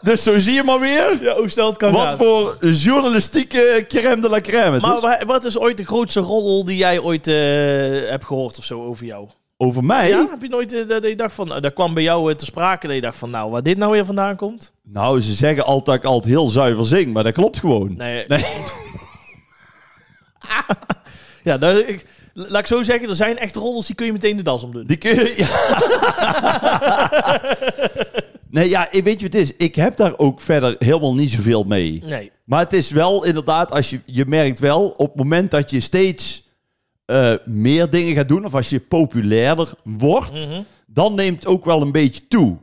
B: Dus zo zie je maar weer
A: Ja, hoe snel het kan
B: wat
A: gaan.
B: voor journalistieke crème de la crème het
A: Maar
B: is.
A: wa- wat is ooit de grootste roddel die jij ooit eh, hebt gehoord of zo over jou?
B: Over mij?
A: Ja, heb je nooit eh, dat je dacht van, eh, dat kwam bij jou eh, te sprake dat je dacht van, nou, waar dit nou weer vandaan komt?
B: Nou, ze zeggen altijd dat ik altijd heel zuiver zing, maar dat klopt gewoon.
A: Nee. Ah. Ja, daar, ik, laat ik zo zeggen, er zijn echt roddels die kun je meteen de das om doen.
B: Die kun je... Ja. nee, ja, ik- weet je wat het is? Ik heb daar ook verder helemaal niet zoveel mee.
A: Nee.
B: Maar het is wel inderdaad, als je, je merkt wel, op het moment dat je steeds eh, meer dingen gaat doen, of als je populairder wordt, dan neemt het ook wel een beetje toe.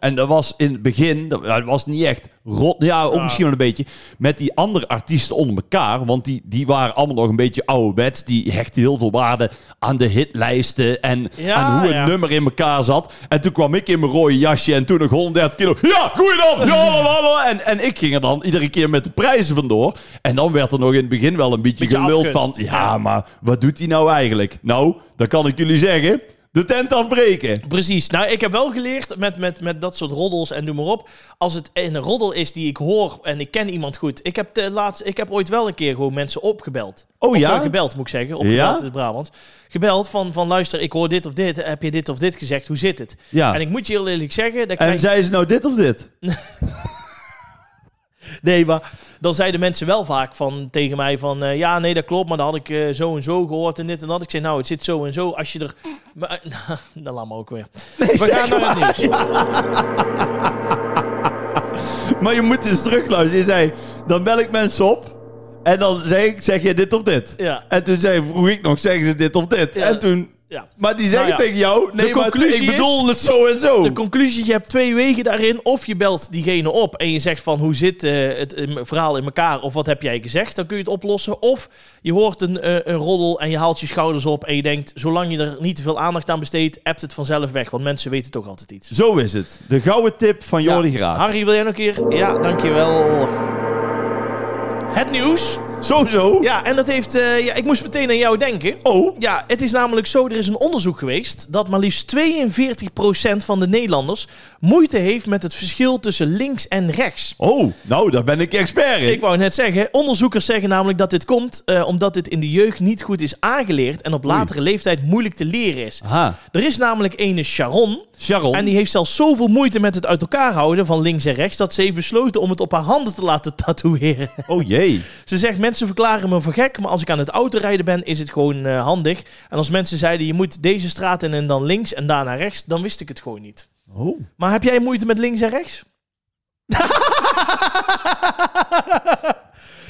B: En dat was in het begin, dat, dat was niet echt rot, ja, ook
A: Ja.
B: misschien wel een beetje, met die andere artiesten onder elkaar, want die, die waren allemaal nog een beetje ouderwets, die hechten heel veel waarde aan de hitlijsten en
A: Ja,
B: aan hoe een
A: ja.
B: nummer in elkaar zat. En toen kwam ik in mijn rode jasje en toen nog 130 kilo. Ja, goeiedag! Ja, la, la, la. En, en ik ging er dan iedere keer met de prijzen vandoor. En dan werd er nog in het begin wel een beetje,
A: Beetje
B: gemuld van...
A: afgunst.
B: Ja, maar wat doet hij nou eigenlijk? Nou, dan kan ik jullie zeggen, de tent afbreken.
A: Precies. Nou, ik heb wel geleerd met, met, met dat soort roddels en noem maar op. Als het een roddel is die ik hoor en ik ken iemand goed. Ik heb, de laatste, ik heb ooit wel een keer gewoon mensen opgebeld.
B: Oh
A: Of,
B: ja?
A: eh, gebeld moet ik zeggen. Opgebeld
B: Ja?
A: in het Brabant. Gebeld van, van luister, ik hoor dit of dit. Heb je dit of dit gezegd? Hoe zit het?
B: Ja.
A: En ik moet je heel eerlijk zeggen. Dan
B: En
A: krijg...
B: zei ze nou dit of dit?
A: Nee, maar dan zeiden mensen wel vaak van, tegen mij van... eh, ja, nee, dat klopt, maar dan had ik eh, zo en zo gehoord en dit en dat. Ik zei, nou, het zit zo en zo. Als je er... Maar, nou, dan laat maar ook weer. We gaan naar het nieuws.
B: Maar je moet eens terugluisteren. Je zei, dan bel ik mensen op. En dan zeg ik, zeg je dit of dit?
A: Ja.
B: En toen zei, vroeg ik nog, zeggen ze dit of dit?
A: Ja.
B: En toen...
A: Ja.
B: Maar die zeggen
A: Nou ja.
B: tegen jou, nee, maar
A: conclusie
B: ik
A: is-
B: bedoel het zo en zo.
A: De conclusie, je hebt twee wegen daarin. Of je belt diegene op en je zegt van hoe zit eh, het eh, verhaal in elkaar of wat heb jij gezegd. Dan kun je het oplossen. Of je hoort een, eh, een roddel en je haalt je schouders op en je denkt zolang je er niet te veel aandacht aan besteedt, appt het vanzelf weg. Want mensen weten toch altijd iets.
B: Zo is het. De gouden tip van Jordi
A: Ja.
B: Graat.
A: Harry, wil jij nog een keer? Ja, dankjewel. Het nieuws.
B: Sowieso.
A: Ja, en dat heeft... eh, ja, ik moest meteen aan jou denken.
B: Oh.
A: Ja, het is namelijk zo, er is een onderzoek geweest dat maar liefst 42% van de Nederlanders moeite heeft met het verschil tussen links en rechts.
B: Oh, nou, daar ben ik expert in.
A: Ik wou net zeggen, onderzoekers zeggen namelijk dat dit komt eh, omdat dit in de jeugd niet goed is aangeleerd en op latere leeftijd moeilijk te leren is.
B: Aha.
A: Er is namelijk ene Sharon
B: Sharon.
A: en die heeft zelfs zoveel moeite met het uit elkaar houden van links en rechts dat ze heeft besloten om het op haar handen te laten tatoeëren.
B: Oh jee.
A: Ze zegt, mensen verklaren me voor gek, maar als ik aan het autorijden ben, is het gewoon eh, handig. En als mensen zeiden, je moet deze straat in en dan links en daarna rechts, dan wist ik het gewoon niet.
B: Oh.
A: Maar heb jij moeite met links en rechts?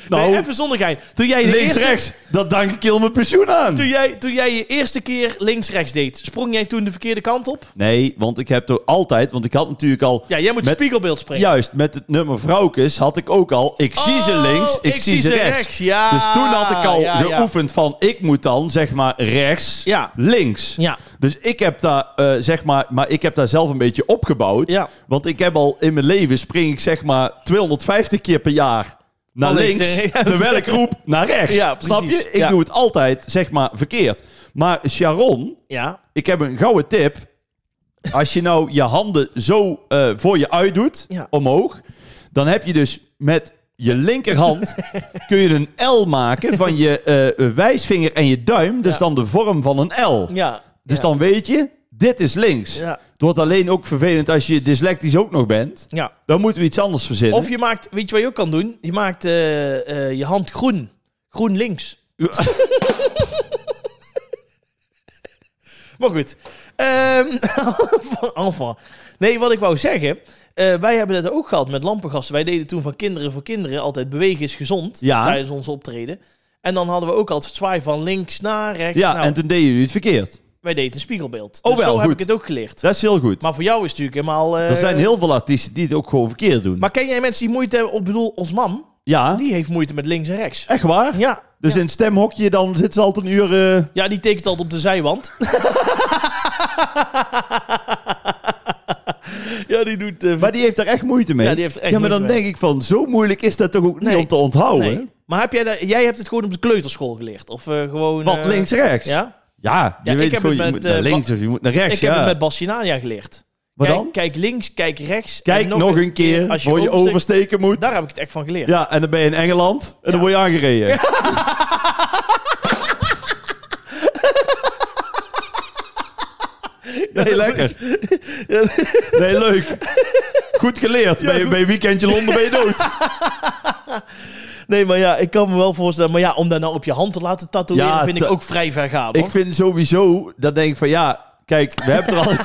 B: Nou,
A: nee, even zonder gein. Toen jij, de eerste,
B: links-rechts, dat dank ik heel mijn pensioen aan.
A: Toen, jij, toen jij je eerste keer links-rechts deed, sprong jij toen de verkeerde kant op?
B: Nee, want ik heb toch altijd, want ik had natuurlijk al...
A: Ja, jij moet
B: Met-
A: spiegelbeeld springen.
B: Juist, met het nummer Vrouwkes had ik ook al, ik zie ze
A: Oh,
B: links, ik, zie ze rechts.
A: Ja.
B: Dus toen had ik al
A: Ah, ja, ja.
B: geoefend van, ik moet dan, zeg maar, rechts,
A: Ja.
B: links.
A: Ja.
B: Dus ik heb daar, eh, zeg maar, maar ik heb daar zelf een beetje opgebouwd.
A: Ja.
B: Want ik heb al in mijn leven spring ik zeg maar 250 keer per jaar naar
A: Van links
B: links,
A: naar rechts.
B: terwijl ik roep naar rechts.
A: Ja,
B: Snap
A: precies.
B: je? Ik
A: Ja.
B: doe het altijd, zeg maar, verkeerd. Maar Sharon,
A: Ja.
B: ik heb een gouden tip. Als je nou je handen zo eh, voor je uit doet,
A: Ja.
B: omhoog, dan heb je dus met je linkerhand kun je een L maken van je eh, wijsvinger en je duim. Dus
A: Ja.
B: dan de vorm van een L.
A: Ja.
B: Dus
A: ja.
B: dan weet je, dit is links.
A: Ja.
B: Het wordt alleen ook vervelend als je dyslectisch ook nog bent.
A: ja.
B: Dan moeten we iets anders verzinnen.
A: Of je maakt, weet je wat je ook kan doen? Je maakt eh, eh, je hand groen. Groen links. Maar goed. Ehm enfin. Nee, wat ik wou zeggen. eh, wij hebben dat ook gehad met lampengasten. Wij deden toen van kinderen voor kinderen altijd bewegen is gezond.
B: Ja.
A: Tijdens ons optreden. En dan hadden we ook altijd zwaai van links naar rechts.
B: ja,
A: Nou,
B: en toen deden jullie het verkeerd.
A: Wij deden een spiegelbeeld.
B: Oh,
A: dus
B: wel,
A: zo heb
B: goed.
A: ik het ook geleerd.
B: Dat is heel goed.
A: Maar voor jou is het natuurlijk helemaal... eh,
B: er zijn heel veel artiesten die het ook gewoon verkeerd doen.
A: Maar ken jij mensen die moeite hebben? Ik bedoel, ons mam,
B: ja,
A: die heeft moeite met links en rechts.
B: echt waar?
A: Ja.
B: Dus
A: ja.
B: in het stemhokje dan zit ze altijd een uur... eh,
A: Ja, die tekent altijd op de zijwand. ja, die doet... eh,
B: Maar die heeft daar echt moeite mee.
A: Ja, die heeft er echt
B: Ja, maar dan
A: moeite mee.
B: denk ik van, zo moeilijk is dat toch ook
A: Nee.
B: niet om te onthouden?
A: Nee. Maar heb jij, daar- jij hebt het gewoon op de kleuterschool geleerd? Of eh, gewoon...
B: Wat,
A: eh,
B: links-rechts?
A: Ja?
B: Ja, je
A: Ja, ik
B: weet
A: heb
B: gewoon,
A: het
B: je
A: met,
B: moet naar
A: eh,
B: links of je moet naar rechts,
A: Ik heb
B: ja.
A: het met Bassinania geleerd.
B: Wat
A: kijk,
B: dan?
A: kijk links, kijk rechts. en
B: Kijk nog, een keer,
A: als je
B: voor je
A: oversteekt-
B: oversteken moet.
A: Daar heb ik het echt van geleerd.
B: Ja, en dan ben je in Engeland en
A: Ja.
B: dan word je aangereden. Nee, lekker. Nee, leuk. Goed geleerd. Bij je, bij je weekendje Londen ben je dood.
A: Nee, maar ja, ik kan me wel voorstellen. Maar ja, om dat nou op je hand te laten tatoeëren,
B: Ja,
A: vind ik
B: ta-
A: ook vrij ver gaan.
B: Ik
A: hoor.
B: vind sowieso, dat denk ik van ja, kijk, we hebben het er al, een-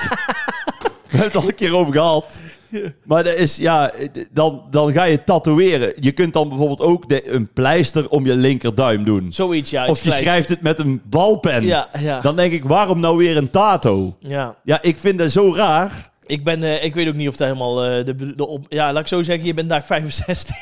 B: we hebben het al een keer over gehad. Maar dat is, ja, dan, dan ga je tatoeëren. Je kunt dan bijvoorbeeld ook de, een pleister om je linkerduim doen.
A: Zoiets, ja.
B: Of
A: iets
B: je
A: kleins.
B: schrijft het met een balpen.
A: Ja, ja.
B: Dan denk ik, waarom nou weer een tato?
A: ja.
B: Ja, ik vind dat zo raar.
A: Ik, ben, eh, ik weet ook niet of dat helemaal eh, de, de op... Ja, laat ik zo zeggen, je bent dag 65.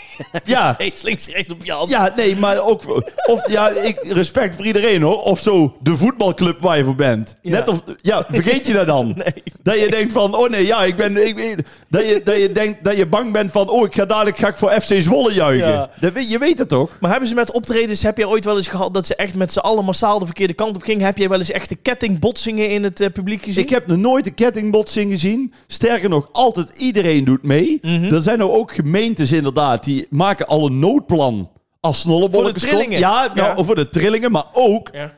B: Ja,
A: Rechts, links, rechts op je hand.
B: ja nee, maar ook... Of, ja, ik, respect voor iedereen hoor. Of zo, de voetbalclub waar je voor bent.
A: Ja.
B: Net of... Ja, vergeet je dat dan?
A: Nee.
B: Dat je denkt van, oh nee, ja, ik ben... Ik, ik- dat, je, dat je denkt, dat je bang bent van, oh, ik ga dadelijk ga ik voor FC Zwolle juichen.
A: Ja.
B: Dat, weet- je weet het toch?
A: Maar hebben ze met optredens, heb jij ooit wel eens gehad dat ze echt met z'n allen massaal de verkeerde kant op gingen? Heb jij wel eens echte kettingbotsingen in het eh, publiek gezien?
B: Ik heb nog nooit een kettingbotsing gezien. Sterker nog, altijd iedereen doet mee.
A: Mhm.
B: Er zijn nou ook gemeentes inderdaad, die maken al een noodplan. Als snollebolletjes
A: Voor de trillingen.
B: komt. Ja, nou,
A: Ja.
B: voor de trillingen, maar ook
A: Ja.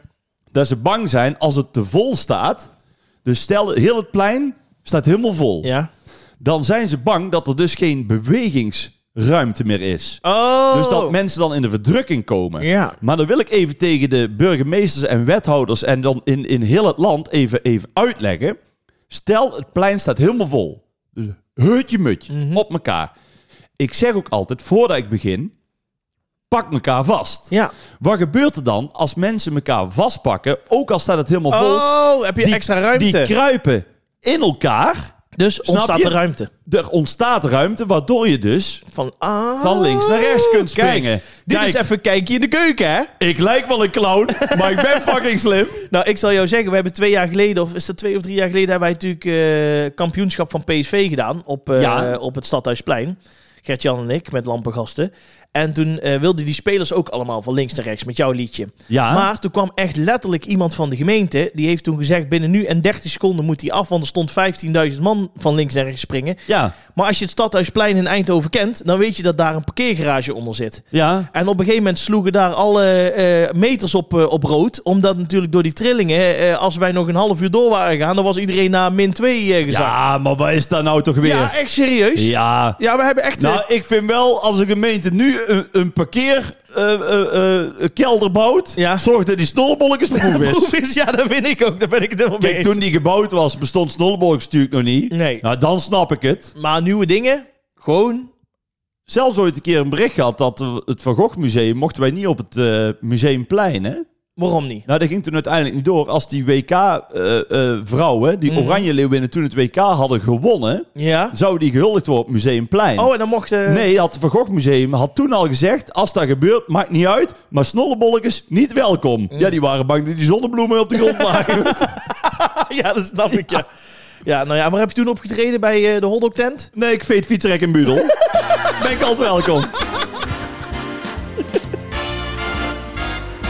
B: dat ze bang zijn als het te vol staat. Dus stel, heel het plein staat helemaal vol.
A: ja.
B: Dan zijn ze bang dat er dus geen bewegingsruimte meer is.
A: Oh.
B: Dus dat mensen dan in de verdrukking komen.
A: Ja.
B: Maar dan wil ik even tegen de burgemeesters en wethouders en dan in, in heel het land even, even uitleggen. Stel, het plein staat helemaal vol. Dus hutje mutje,
A: Mhm.
B: op elkaar. Ik zeg ook altijd, voordat ik begin, pak elkaar vast.
A: Ja.
B: Wat gebeurt er dan als mensen elkaar vastpakken, ook al staat het helemaal vol?
A: Oh, heb je extra ruimte?
B: Die kruipen in elkaar.
A: dus ontstaat
B: je?
A: de ruimte.
B: Er ontstaat ruimte, waardoor je dus
A: Van, ah,
B: van links naar rechts kunt
A: kijk,
B: springen.
A: Dit
B: Kijk,
A: is even kijkje in de keuken, hè?
B: ik lijk wel een clown, maar ik ben fucking slim.
A: Nou, ik zal jou zeggen, we hebben twee jaar geleden, of is dat twee of drie jaar geleden, hebben wij natuurlijk eh, kampioenschap van PSV gedaan op, eh,
B: Ja.
A: op het Stadhuisplein. Gert-Jan en ik, met lampengasten. En toen eh, wilden die spelers ook allemaal van links naar rechts met jouw liedje.
B: Ja,
A: Maar toen kwam echt letterlijk iemand van de gemeente. Die heeft toen gezegd, binnen nu en 30 seconden moet hij af. Want er stond 15.000 man van links naar rechts springen.
B: ja,
A: Maar als je het Stadhuisplein in Eindhoven kent, dan weet je dat daar een parkeergarage onder zit.
B: ja.
A: En op een gegeven moment sloegen daar alle eh, meters op, eh, op rood. Omdat natuurlijk door die trillingen, eh, als wij nog een half uur door waren gegaan, dan was iedereen naar min 2 eh gezakt.
B: Ja, maar wat is dat nou toch
A: Ja,
B: weer?
A: echt serieus. Ja.
B: Ja.
A: we hebben echt... eh,
B: Nou, ik vind wel, als een gemeente nu een, een eh, parkeerkelder kelder bouwt,
A: Ja.
B: zorg dat die snollebolletjes proef is.
A: proef is- eh, ja, dat vind ik ook. Daar ben ik het helemaal mee
B: Kijk,
A: eens.
B: toen die gebouwd was, bestond snollebolletjes natuurlijk nog niet.
A: Nee.
B: Nou, dan snap ik het.
A: Maar nieuwe dingen, gewoon...
B: Zelfs ooit een keer een bericht gehad dat we- het Van Gogh Museum mochten wij niet op het eh, museumplein, hè?
A: Waarom niet?
B: Nou, dat ging toen uiteindelijk niet door. Als die WK-vrouwen, eh, die
A: Mhm.
B: Oranje Leeuwinnen, toen het WK hadden gewonnen,
A: Ja.
B: zouden die gehuldigd worden op Museumplein.
A: Oh, en dan mochten...
B: Nee, had het Van Gogh Museum had toen al gezegd, als dat gebeurt, maakt niet uit, maar snollebolletjes niet welkom.
A: Mm.
B: Ja, die waren bang dat die zonnebloemen op de grond lagen.
A: ja, dat snap ik, ja. Ja, nou ja, waar heb je toen opgetreden bij eh, de hotdog tent?
B: nee, ik veet fietsrek in Budel. ben ik altijd welkom.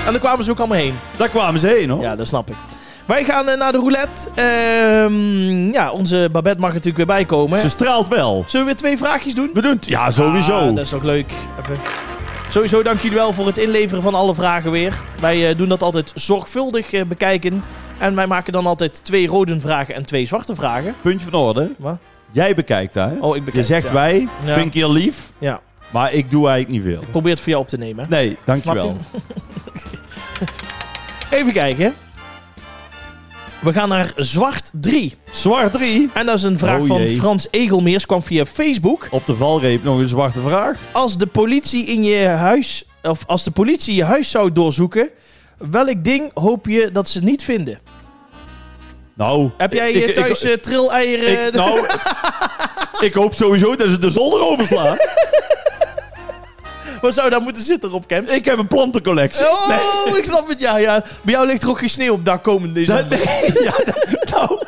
A: En dan kwamen ze ook allemaal heen.
B: Daar kwamen ze heen, hoor.
A: Ja, dat snap ik. Wij gaan eh, naar de roulette. Ehm, ja, onze Babette mag er natuurlijk weer bij komen.
B: Ze straalt wel.
A: Zullen we weer twee vraagjes doen?
B: We doen het. Ja, sowieso.
A: Ah, dat is toch leuk. Even. Sowieso dank jullie wel voor het inleveren van alle vragen weer. Wij eh, doen dat altijd zorgvuldig eh, bekijken. En wij maken dan altijd twee rode vragen en twee zwarte vragen.
B: Puntje van orde.
A: Wat?
B: Jij bekijkt daar, hè?
A: Oh, ik bekijk
B: Je zegt
A: het, ja.
B: wij,
A: Ja.
B: vind ik heel lief,
A: Ja,
B: maar ik doe eigenlijk niet veel.
A: ik probeer het voor jou op te nemen. hè.
B: Nee, dankjewel.
A: Snap Even kijken. We gaan naar zwart 3.
B: Zwart 3.
A: En dat is een vraag
B: Oh,
A: van
B: jee.
A: Frans Egelmeers. Kwam via Facebook.
B: Op de valreep nog een zwarte vraag.
A: Als de politie in je huis. Of als de politie je huis zou doorzoeken. Welk ding hoop je dat ze niet vinden?
B: Nou.
A: Heb jij
B: ik-
A: eh,
B: ik-
A: thuis
B: ik-
A: eh, trilleieren?
B: ik- nou, ik hoop sowieso dat ze de zon erover slaan.
A: Wat zou daar moeten zitten, Rob Kemp?
B: Ik heb een plantencollectie.
A: Oh, ik snap het. Ja, ja. Bij jou ligt er ook geen sneeuw op dak komend
B: Dat,
A: december.
B: nee, ja, dat- nou,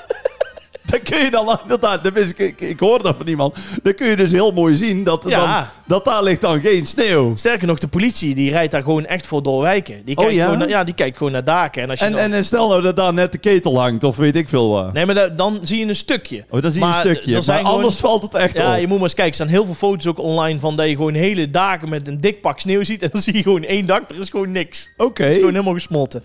B: dat kun je dan inderdaad, dat wist ik, ik, ik hoorde dat van iemand. Dan kun je dus heel mooi zien dat, er
A: Ja.
B: dan, dat daar ligt dan geen sneeuw.
A: Sterker nog, de politie die rijdt daar gewoon echt voor doorwijken. Die kijkt,
B: Oh, ja?
A: gewoon, naar, ja, die kijkt gewoon naar daken. En als je
B: En,
A: dan-
B: en, en stel nou dat daar net de ketel hangt of weet ik veel wat.
A: Nee, maar da- dan zie je een stukje.
B: Oh, dan zie je
A: Maar
B: een
A: er
B: stukje. Maar
A: zijn gewoon-
B: anders oh. valt het echt
A: Ja,
B: op.
A: je moet maar eens kijken. Er staan heel veel foto's ook online van dat je gewoon hele daken met een dik pak sneeuw ziet. En dan zie je gewoon één dak. Er is gewoon niks.
B: Oké.
A: is gewoon helemaal gesmolten.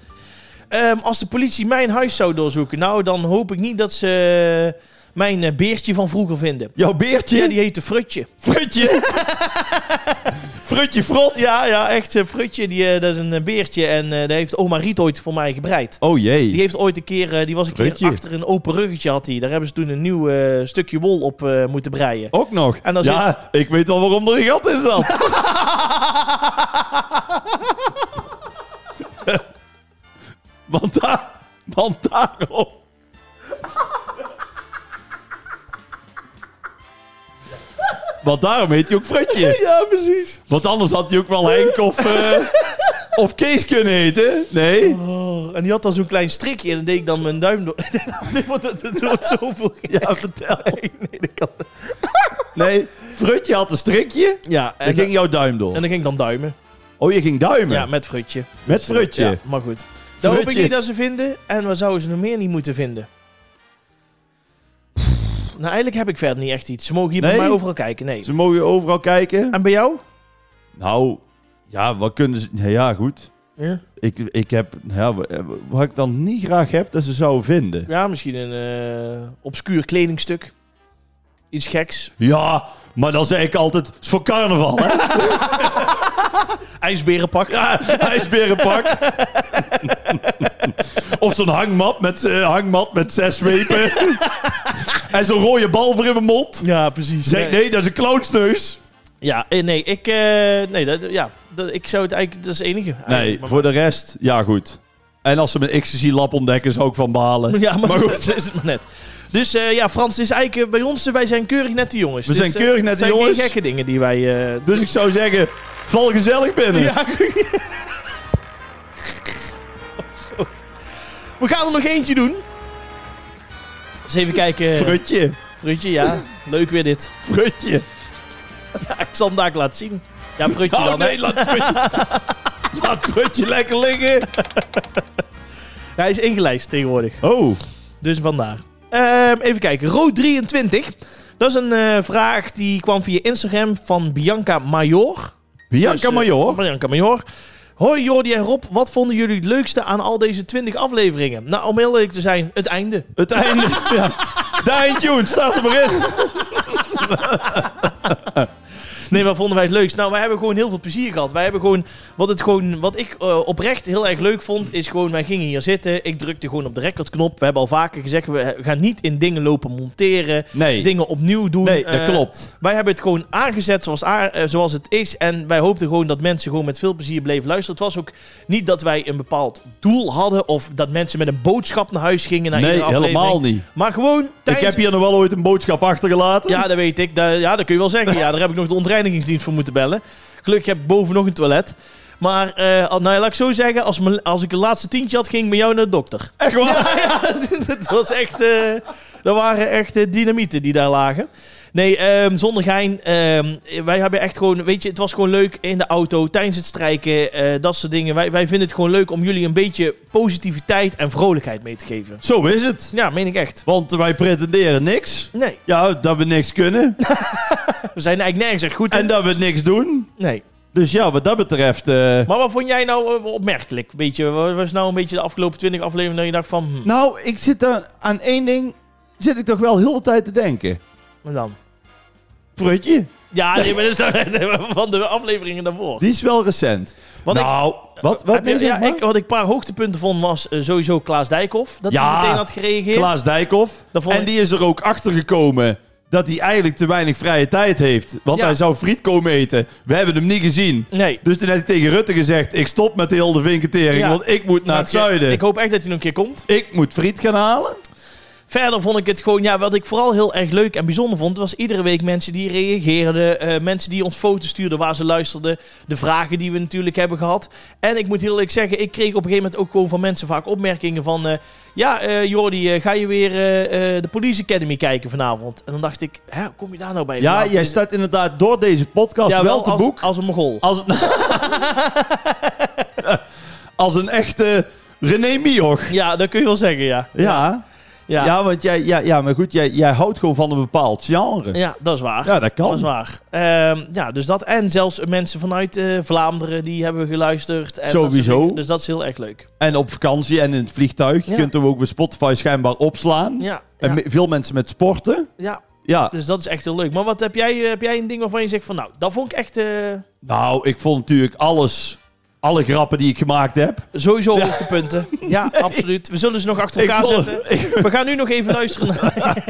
A: Ehm, als de politie mijn huis zou doorzoeken, nou dan hoop ik niet dat ze eh, mijn eh, beertje van vroeger vinden.
B: Jouw beertje?
A: Ja, die heette Frutje.
B: Frutje. Frutje frot.
A: Ja, ja, echt. eh, Frutje, die, eh, dat is een eh, beertje. En eh die heeft oma Riet ooit voor mij gebreid.
B: Oh jee.
A: Die heeft ooit een keer, eh, die was een
B: Frutje.
A: keer achter een open ruggetje had hij. Daar hebben ze toen een nieuw eh, stukje wol op eh, moeten breien.
B: Ook nog.
A: En dan
B: ja, ik weet al waarom er een gat in zat. want, daar, want daarom... Want daarom heet hij ook Fredje.
A: Ja, precies.
B: Want anders had hij ook wel Henk of, eh, of Kees kunnen heten. Nee?
A: Oh, en die had dan zo'n klein strikje en dan deed ik dan mijn duim door. Dit wordt- Het wordt zoveel.
B: Ja, vertel.
A: Nee, nee, dat kan niet.
B: Nee, Frutje had een strikje.
A: Ja, en,
B: Daar ging jouw duim
A: en dan
B: door.
A: ging ik dan duimen.
B: Oh, je ging duimen?
A: Ja, met Frutje.
B: Met Frutje.
A: Ja, maar goed. Dan hoop ik
B: Frutje.
A: niet dat ze vinden. En wat zouden ze nog meer niet moeten vinden? Nou, eigenlijk heb ik verder niet echt iets. Ze mogen hier bij
B: Nee?
A: mij overal kijken. Nee.
B: Ze mogen overal kijken.
A: En bij jou?
B: Nou, ja, wat kunnen ze... Ja, ja, goed.
A: Ja,
B: Ik, ik heb... Ja, wa- eh, wat ik dan niet graag heb, dat ze zouden vinden.
A: misschien een eh, obscuur kledingstuk. Iets geks.
B: Ja, maar dan zeg ik altijd... Het is voor carnaval, hè?
A: IJsberenpak.
B: Ja, ijsberenpak. of zo'n hangmat met, eh, hangmat met zes zwepen. en zo'n rode bal voor in mijn mond.
A: Ja, precies.
B: Zeg ik, nee, dat is een clownsneus.
A: Ja, eh, nee, ik, eh, nee dat, ja, dat, ik zou het eigenlijk, dat is het enige.
B: Nee,
A: eigenlijk. Maar-
B: voor de rest, ja goed. En als ze mijn ecstasy-lab ontdekken, zou ik van balen.
A: Ja, maar,
B: Maar
A: zo-
B: goed.
A: zo is het maar net. Dus eh, ja, Frans, het is eigenlijk eh, bij ons, eh, wij zijn keurig net de jongens.
B: We
A: Dus,
B: zijn
A: eh,
B: keurig net
A: het
B: de
A: zijn geen
B: jongens.
A: gekke dingen die wij... eh,
B: Dus ik zou zeggen, val gezellig binnen.
A: ja, Zo. We gaan er nog eentje doen. Eens even kijken.
B: Frutje,
A: Frutje, ja. Leuk weer dit.
B: frutje.
A: Ja, ik zal hem daar ook laten zien. Ja, Frutje
B: Oh
A: dan, hè.
B: nee, laat frutje, laat frutje lekker liggen.
A: Hij is ingelijst tegenwoordig.
B: Oh,
A: Dus vandaar. Ehm, even kijken. Rood23. Dat is een eh, vraag die kwam via Instagram van Bianca Major.
B: Bianca
A: Dus, eh,
B: Major.
A: van Bianca Major. Hoi Jordi en Rob, wat vonden jullie het leukste aan al deze 20 afleveringen? Nou, om heel eerlijk te zijn, het einde.
B: Het einde. ja. Dine Tune, staat er maar in.
A: Nee, wat vonden wij het leukst? Nou, wij hebben gewoon heel veel plezier gehad. Wij hebben gewoon, wat, het gewoon, wat ik eh, oprecht heel erg leuk vond, is gewoon, wij gingen hier zitten. Ik drukte gewoon op de recordknop. We hebben al vaker gezegd, we gaan niet in dingen lopen monteren.
B: Nee,
A: Dingen opnieuw doen.
B: nee dat
A: Eh,
B: klopt.
A: Wij hebben het gewoon aangezet zoals, a- eh, zoals het is. En wij hoopten gewoon dat mensen gewoon met veel plezier bleven luisteren. Het was ook niet dat wij een bepaald doel hadden. Of dat mensen met een boodschap naar huis gingen. Naar
B: Nee,
A: iedere aflevering.
B: helemaal niet.
A: Maar gewoon
B: Ik
A: tijdens...
B: heb hier nog wel ooit een boodschap achtergelaten.
A: Ja, dat weet ik. Dat, ja, dat kun je wel zeggen. Ja, daar heb ik nog de ontreinigingsdienst voor moeten bellen. Gelukkig heb ik boven nog een toilet. Maar eh, al- nou, ja, laat ik zo zeggen. Als, mijn- als ik een laatste tientje had, ging ik met jou naar de dokter.
B: Echt waar?
A: dat was echt. eh, dat waren echt eh, dynamieten die daar lagen. Nee, ehm, zonder gein. ehm, wij hebben echt gewoon. Weet je, het was gewoon leuk in de auto, tijdens het strijken, eh, dat soort dingen. Wij, wij vinden het gewoon leuk om jullie een beetje positiviteit en vrolijkheid mee te geven.
B: Zo is het.
A: Ja, meen ik echt.
B: Want wij pretenderen niks.
A: Nee,
B: Ja, dat we niks kunnen.
A: we zijn eigenlijk nergens echt goed in.
B: En dat we niks doen.
A: Nee.
B: Dus ja, wat dat betreft... eh,
A: Maar wat vond jij nou eh, opmerkelijk? Weet je, wat was nou een beetje de afgelopen 20 afleveringen dat je dacht van. Hm,
B: Nou, ik zit daar aan één ding... zit ik toch wel heel de tijd te denken.
A: wat dan?
B: Frutje,
A: Ja, nee, maar dat is dan van de afleveringen daarvoor.
B: die is wel recent.
A: Wat ik-
B: nou, wat, wat
A: Heb je-
B: nee, zeg
A: ja,
B: maar?
A: ik, wat ik een paar hoogtepunten vond was eh, sowieso Klaas Dijkhoff. Dat
B: Ja.
A: hij meteen had gereageerd.
B: Klaas Dijkhoff.
A: Dat vond
B: En
A: ik-
B: die is er ook achter gekomen dat hij eigenlijk te weinig vrije tijd heeft. Want
A: Ja.
B: hij zou friet komen eten. We hebben hem niet gezien.
A: Nee.
B: Dus toen heeft hij tegen Rutte gezegd... ik stop met de hele vinketering,
A: Ja.
B: want ik moet naar het
A: Maar ik-
B: zuiden.
A: Ik
B: Ik,
A: hoop echt dat hij nog een keer komt.
B: moet friet gaan halen.
A: Verder vond ik het gewoon, ja, wat ik vooral heel erg leuk en bijzonder vond, was iedere week mensen die reageerden, eh, mensen die ons foto's stuurden waar ze luisterden, de vragen die we natuurlijk hebben gehad. En ik moet heel eerlijk zeggen, ik kreeg op een gegeven moment ook gewoon van mensen vaak opmerkingen van, eh, ja, eh, Jordi, eh, ga je weer eh, eh, de Police Academy kijken vanavond? En dan dacht ik, hè, hoe kom je daar nou bij?
B: Ja,
A: Vanavond
B: jij
A: is-
B: staat inderdaad door deze podcast
A: Ja,
B: wel te
A: als,
B: boek.
A: als een mogol.
B: Als, als een echte René Mioch.
A: Ja, dat kun je wel zeggen, ja.
B: Ja, ja.
A: Ja, ja.
B: want jij, ja, ja, maar goed, jij, jij houdt gewoon van een bepaald genre. Ja,
A: dat is waar.
B: dat
A: dat is
B: kan.
A: waar. Ehm, ja, dus dat. En zelfs mensen vanuit eh, Vlaanderen, die hebben geluisterd. En dat soort
B: Sowieso.
A: dingen. dus dat is heel erg leuk.
B: En op vakantie en in het vliegtuig. Je
A: Ja.
B: kunt hem ook bij Spotify schijnbaar opslaan.
A: Ja,
B: En
A: ja,
B: me- veel mensen met sporten.
A: ja.
B: Ja,
A: Dus dat is echt heel leuk. Maar wat heb jij, eh, heb jij een ding waarvan je zegt van nou, dat vond ik echt eh,
B: nou, ik vond natuurlijk alles, alle grappen die ik gemaakt heb.
A: sowieso hoogtepunten. Ja, absoluut. We zullen ze nog achter
B: Ik
A: elkaar
B: vond,
A: zetten.
B: ik,
A: We gaan nu nog even luisteren naar...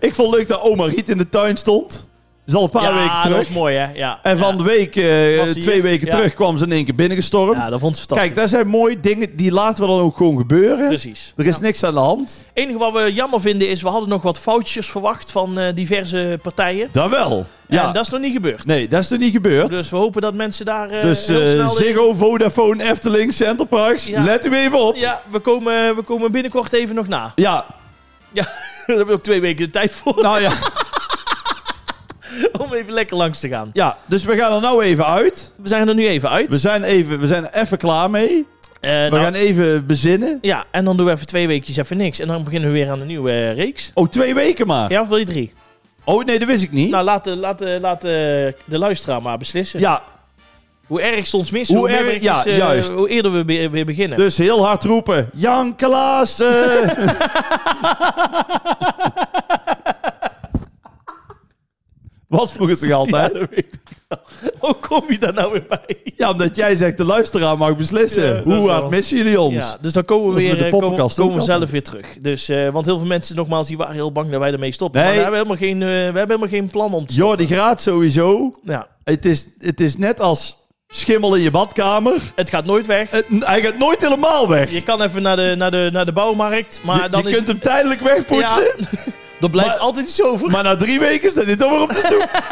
B: ik vond leuk dat oma Riet in de tuin stond. Dat is al een paar weken
A: ja, dat was
B: terug.
A: mooi hè. Ja,
B: En van
A: ja.
B: de week, eh,
A: Was ze
B: twee
A: hier?
B: weken
A: Ja.
B: terug, kwam ze in één keer binnengestormd.
A: Ja, dat vond ze fantastisch.
B: Kijk, dat zijn mooie dingen, die laten we dan ook gewoon gebeuren.
A: Precies.
B: er is niks aan de hand.
A: Het enige wat we jammer vinden is, we hadden nog wat foutjes verwacht van eh, diverse partijen.
B: Dan wel. Ja.
A: En dat is nog niet gebeurd.
B: Nee, dat is er niet gebeurd. Dus,
A: Dus we hopen dat mensen daar eh heel
B: eh,
A: snel...
B: Ziggo, Vodafone, Efteling, Centerparks.
A: Ja.
B: Let u even op.
A: Ja, we komen, we komen binnenkort even nog na.
B: Ja,
A: Daar hebben we ook twee weken de tijd voor
B: nou ja.
A: om even lekker langs te gaan.
B: ja. Dus we gaan er nou even uit.
A: We zijn er nu even uit.
B: We zijn, even, we zijn er even klaar mee.
A: Eh,
B: We
A: nou,
B: gaan even bezinnen.
A: Ja, en dan doen we even twee weekjes even niks. En dan beginnen we weer aan een nieuwe eh, reeks.
B: Oh, twee weken maar.
A: Ja, of wil je drie?
B: Oh, nee, dat wist ik niet.
A: Nou, laat, eh, laat, eh, laat eh, de luisteraar maar beslissen.
B: ja,
A: Hoe erg ze ons missen,
B: Hoe
A: hoe, meer
B: erg-
A: weekjes,
B: ja,
A: eh,
B: juist.
A: hoe eerder we be- weer beginnen.
B: dus heel hard roepen. Jan Klaassen. Was vroeger toch
A: ja,
B: altijd?
A: dat weet ik wel. Hoe kom je daar nou weer bij?
B: Ja, omdat jij zegt de luisteraar mag beslissen.
A: Ja, dat is
B: Hoe hard
A: wel-
B: missen jullie ons?
A: Ja, dus dan komen we
B: Dat is
A: weer
B: met de
A: eh, komen-
B: poppenkast
A: komen we
B: ook al.
A: zelf weer terug. Dus, eh, want heel veel mensen, nogmaals, die waren heel bang dat wij ermee stoppen.
B: Nee.
A: Maar we hebben, helemaal geen, eh, we hebben helemaal geen plan om te
B: Jordi Graat sowieso.
A: Ja,
B: Het is, het is net als schimmel in je badkamer.
A: het gaat nooit weg.
B: Het, hij gaat nooit helemaal weg.
A: Je kan even naar de, naar de, naar de bouwmarkt, maar
B: je
A: dan
B: je
A: is
B: kunt hem tijdelijk wegpoetsen.
A: er blijft
B: maar-
A: altijd iets over.
B: Maar na drie weken staat hij toch weer op de stoep.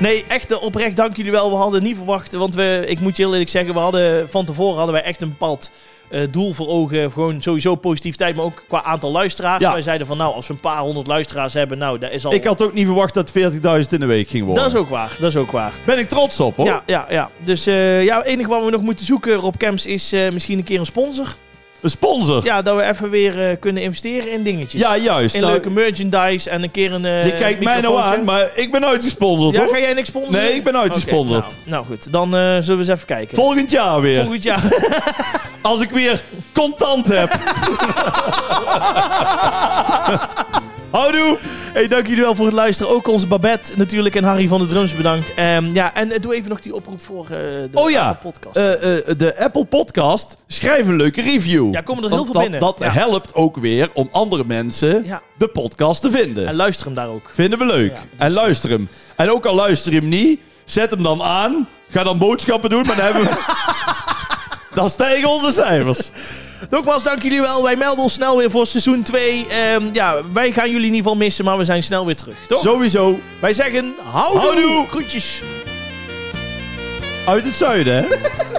A: Nee, echt eh, oprecht, dank jullie wel. We hadden niet verwacht, want we, ik moet je heel eerlijk zeggen, we hadden, van tevoren hadden wij echt een bepaald eh, doel voor ogen. Gewoon sowieso positiviteit, maar ook qua aantal luisteraars.
B: Ja.
A: Wij zeiden van, nou, als we een paar honderd luisteraars hebben, nou, dat is al...
B: Ik had ook niet verwacht dat 40.000 in de week ging worden.
A: dat is ook waar, dat is ook waar.
B: Ben ik trots op hoor.
A: Ja, ja, ja. Dus eh, ja, het enige wat we nog moeten zoeken op Camps is eh, misschien een keer een sponsor.
B: Een sponsor. Ja,
A: Ja, dat we even weer eh, kunnen investeren in dingetjes.
B: juist.
A: in
B: Nou,
A: leuke merchandise en een keer een. eh,
B: je kijkt mij nou
A: microfoontje.
B: aan, maar ik ben uitgesponsord
A: Ja,
B: hoor.
A: ga jij niks sponsoren?
B: Nee, ik ben nooit
A: Oké,
B: gesponsord.
A: nou, nou goed, dan eh, zullen we eens even kijken.
B: Volgend jaar weer.
A: Volgend jaar.
B: Als ik weer contant heb. Houdoe.
A: hey, dank jullie wel voor het luisteren. Ook onze Babette natuurlijk en Harry van de Drums bedankt. Ehm, ja, en eh, doe even nog die oproep voor eh, de
B: Oh ja.
A: andere podcast.
B: Eh, eh, de Apple Podcast, schrijf een leuke review.
A: Ja, komen er
B: Want
A: heel veel
B: dat,
A: binnen.
B: Dat
A: Ja.
B: helpt ook weer om andere mensen
A: ja.
B: de podcast te vinden.
A: En luister hem daar ook.
B: Vinden we leuk.
A: Ja, dus-
B: En luister hem. En ook al luister je hem niet, zet hem dan aan. Ga dan boodschappen doen, maar dan hebben we... Dan stijgen onze cijfers.
A: Nogmaals, dank jullie wel. Wij melden ons snel weer voor seizoen 2. Ehm, ja, wij gaan jullie in ieder geval missen, maar we zijn snel weer terug, toch?
B: Sowieso
A: Wij zeggen houdoe.
B: Houdoe.
A: Groetjes.
B: uit het zuiden, hè?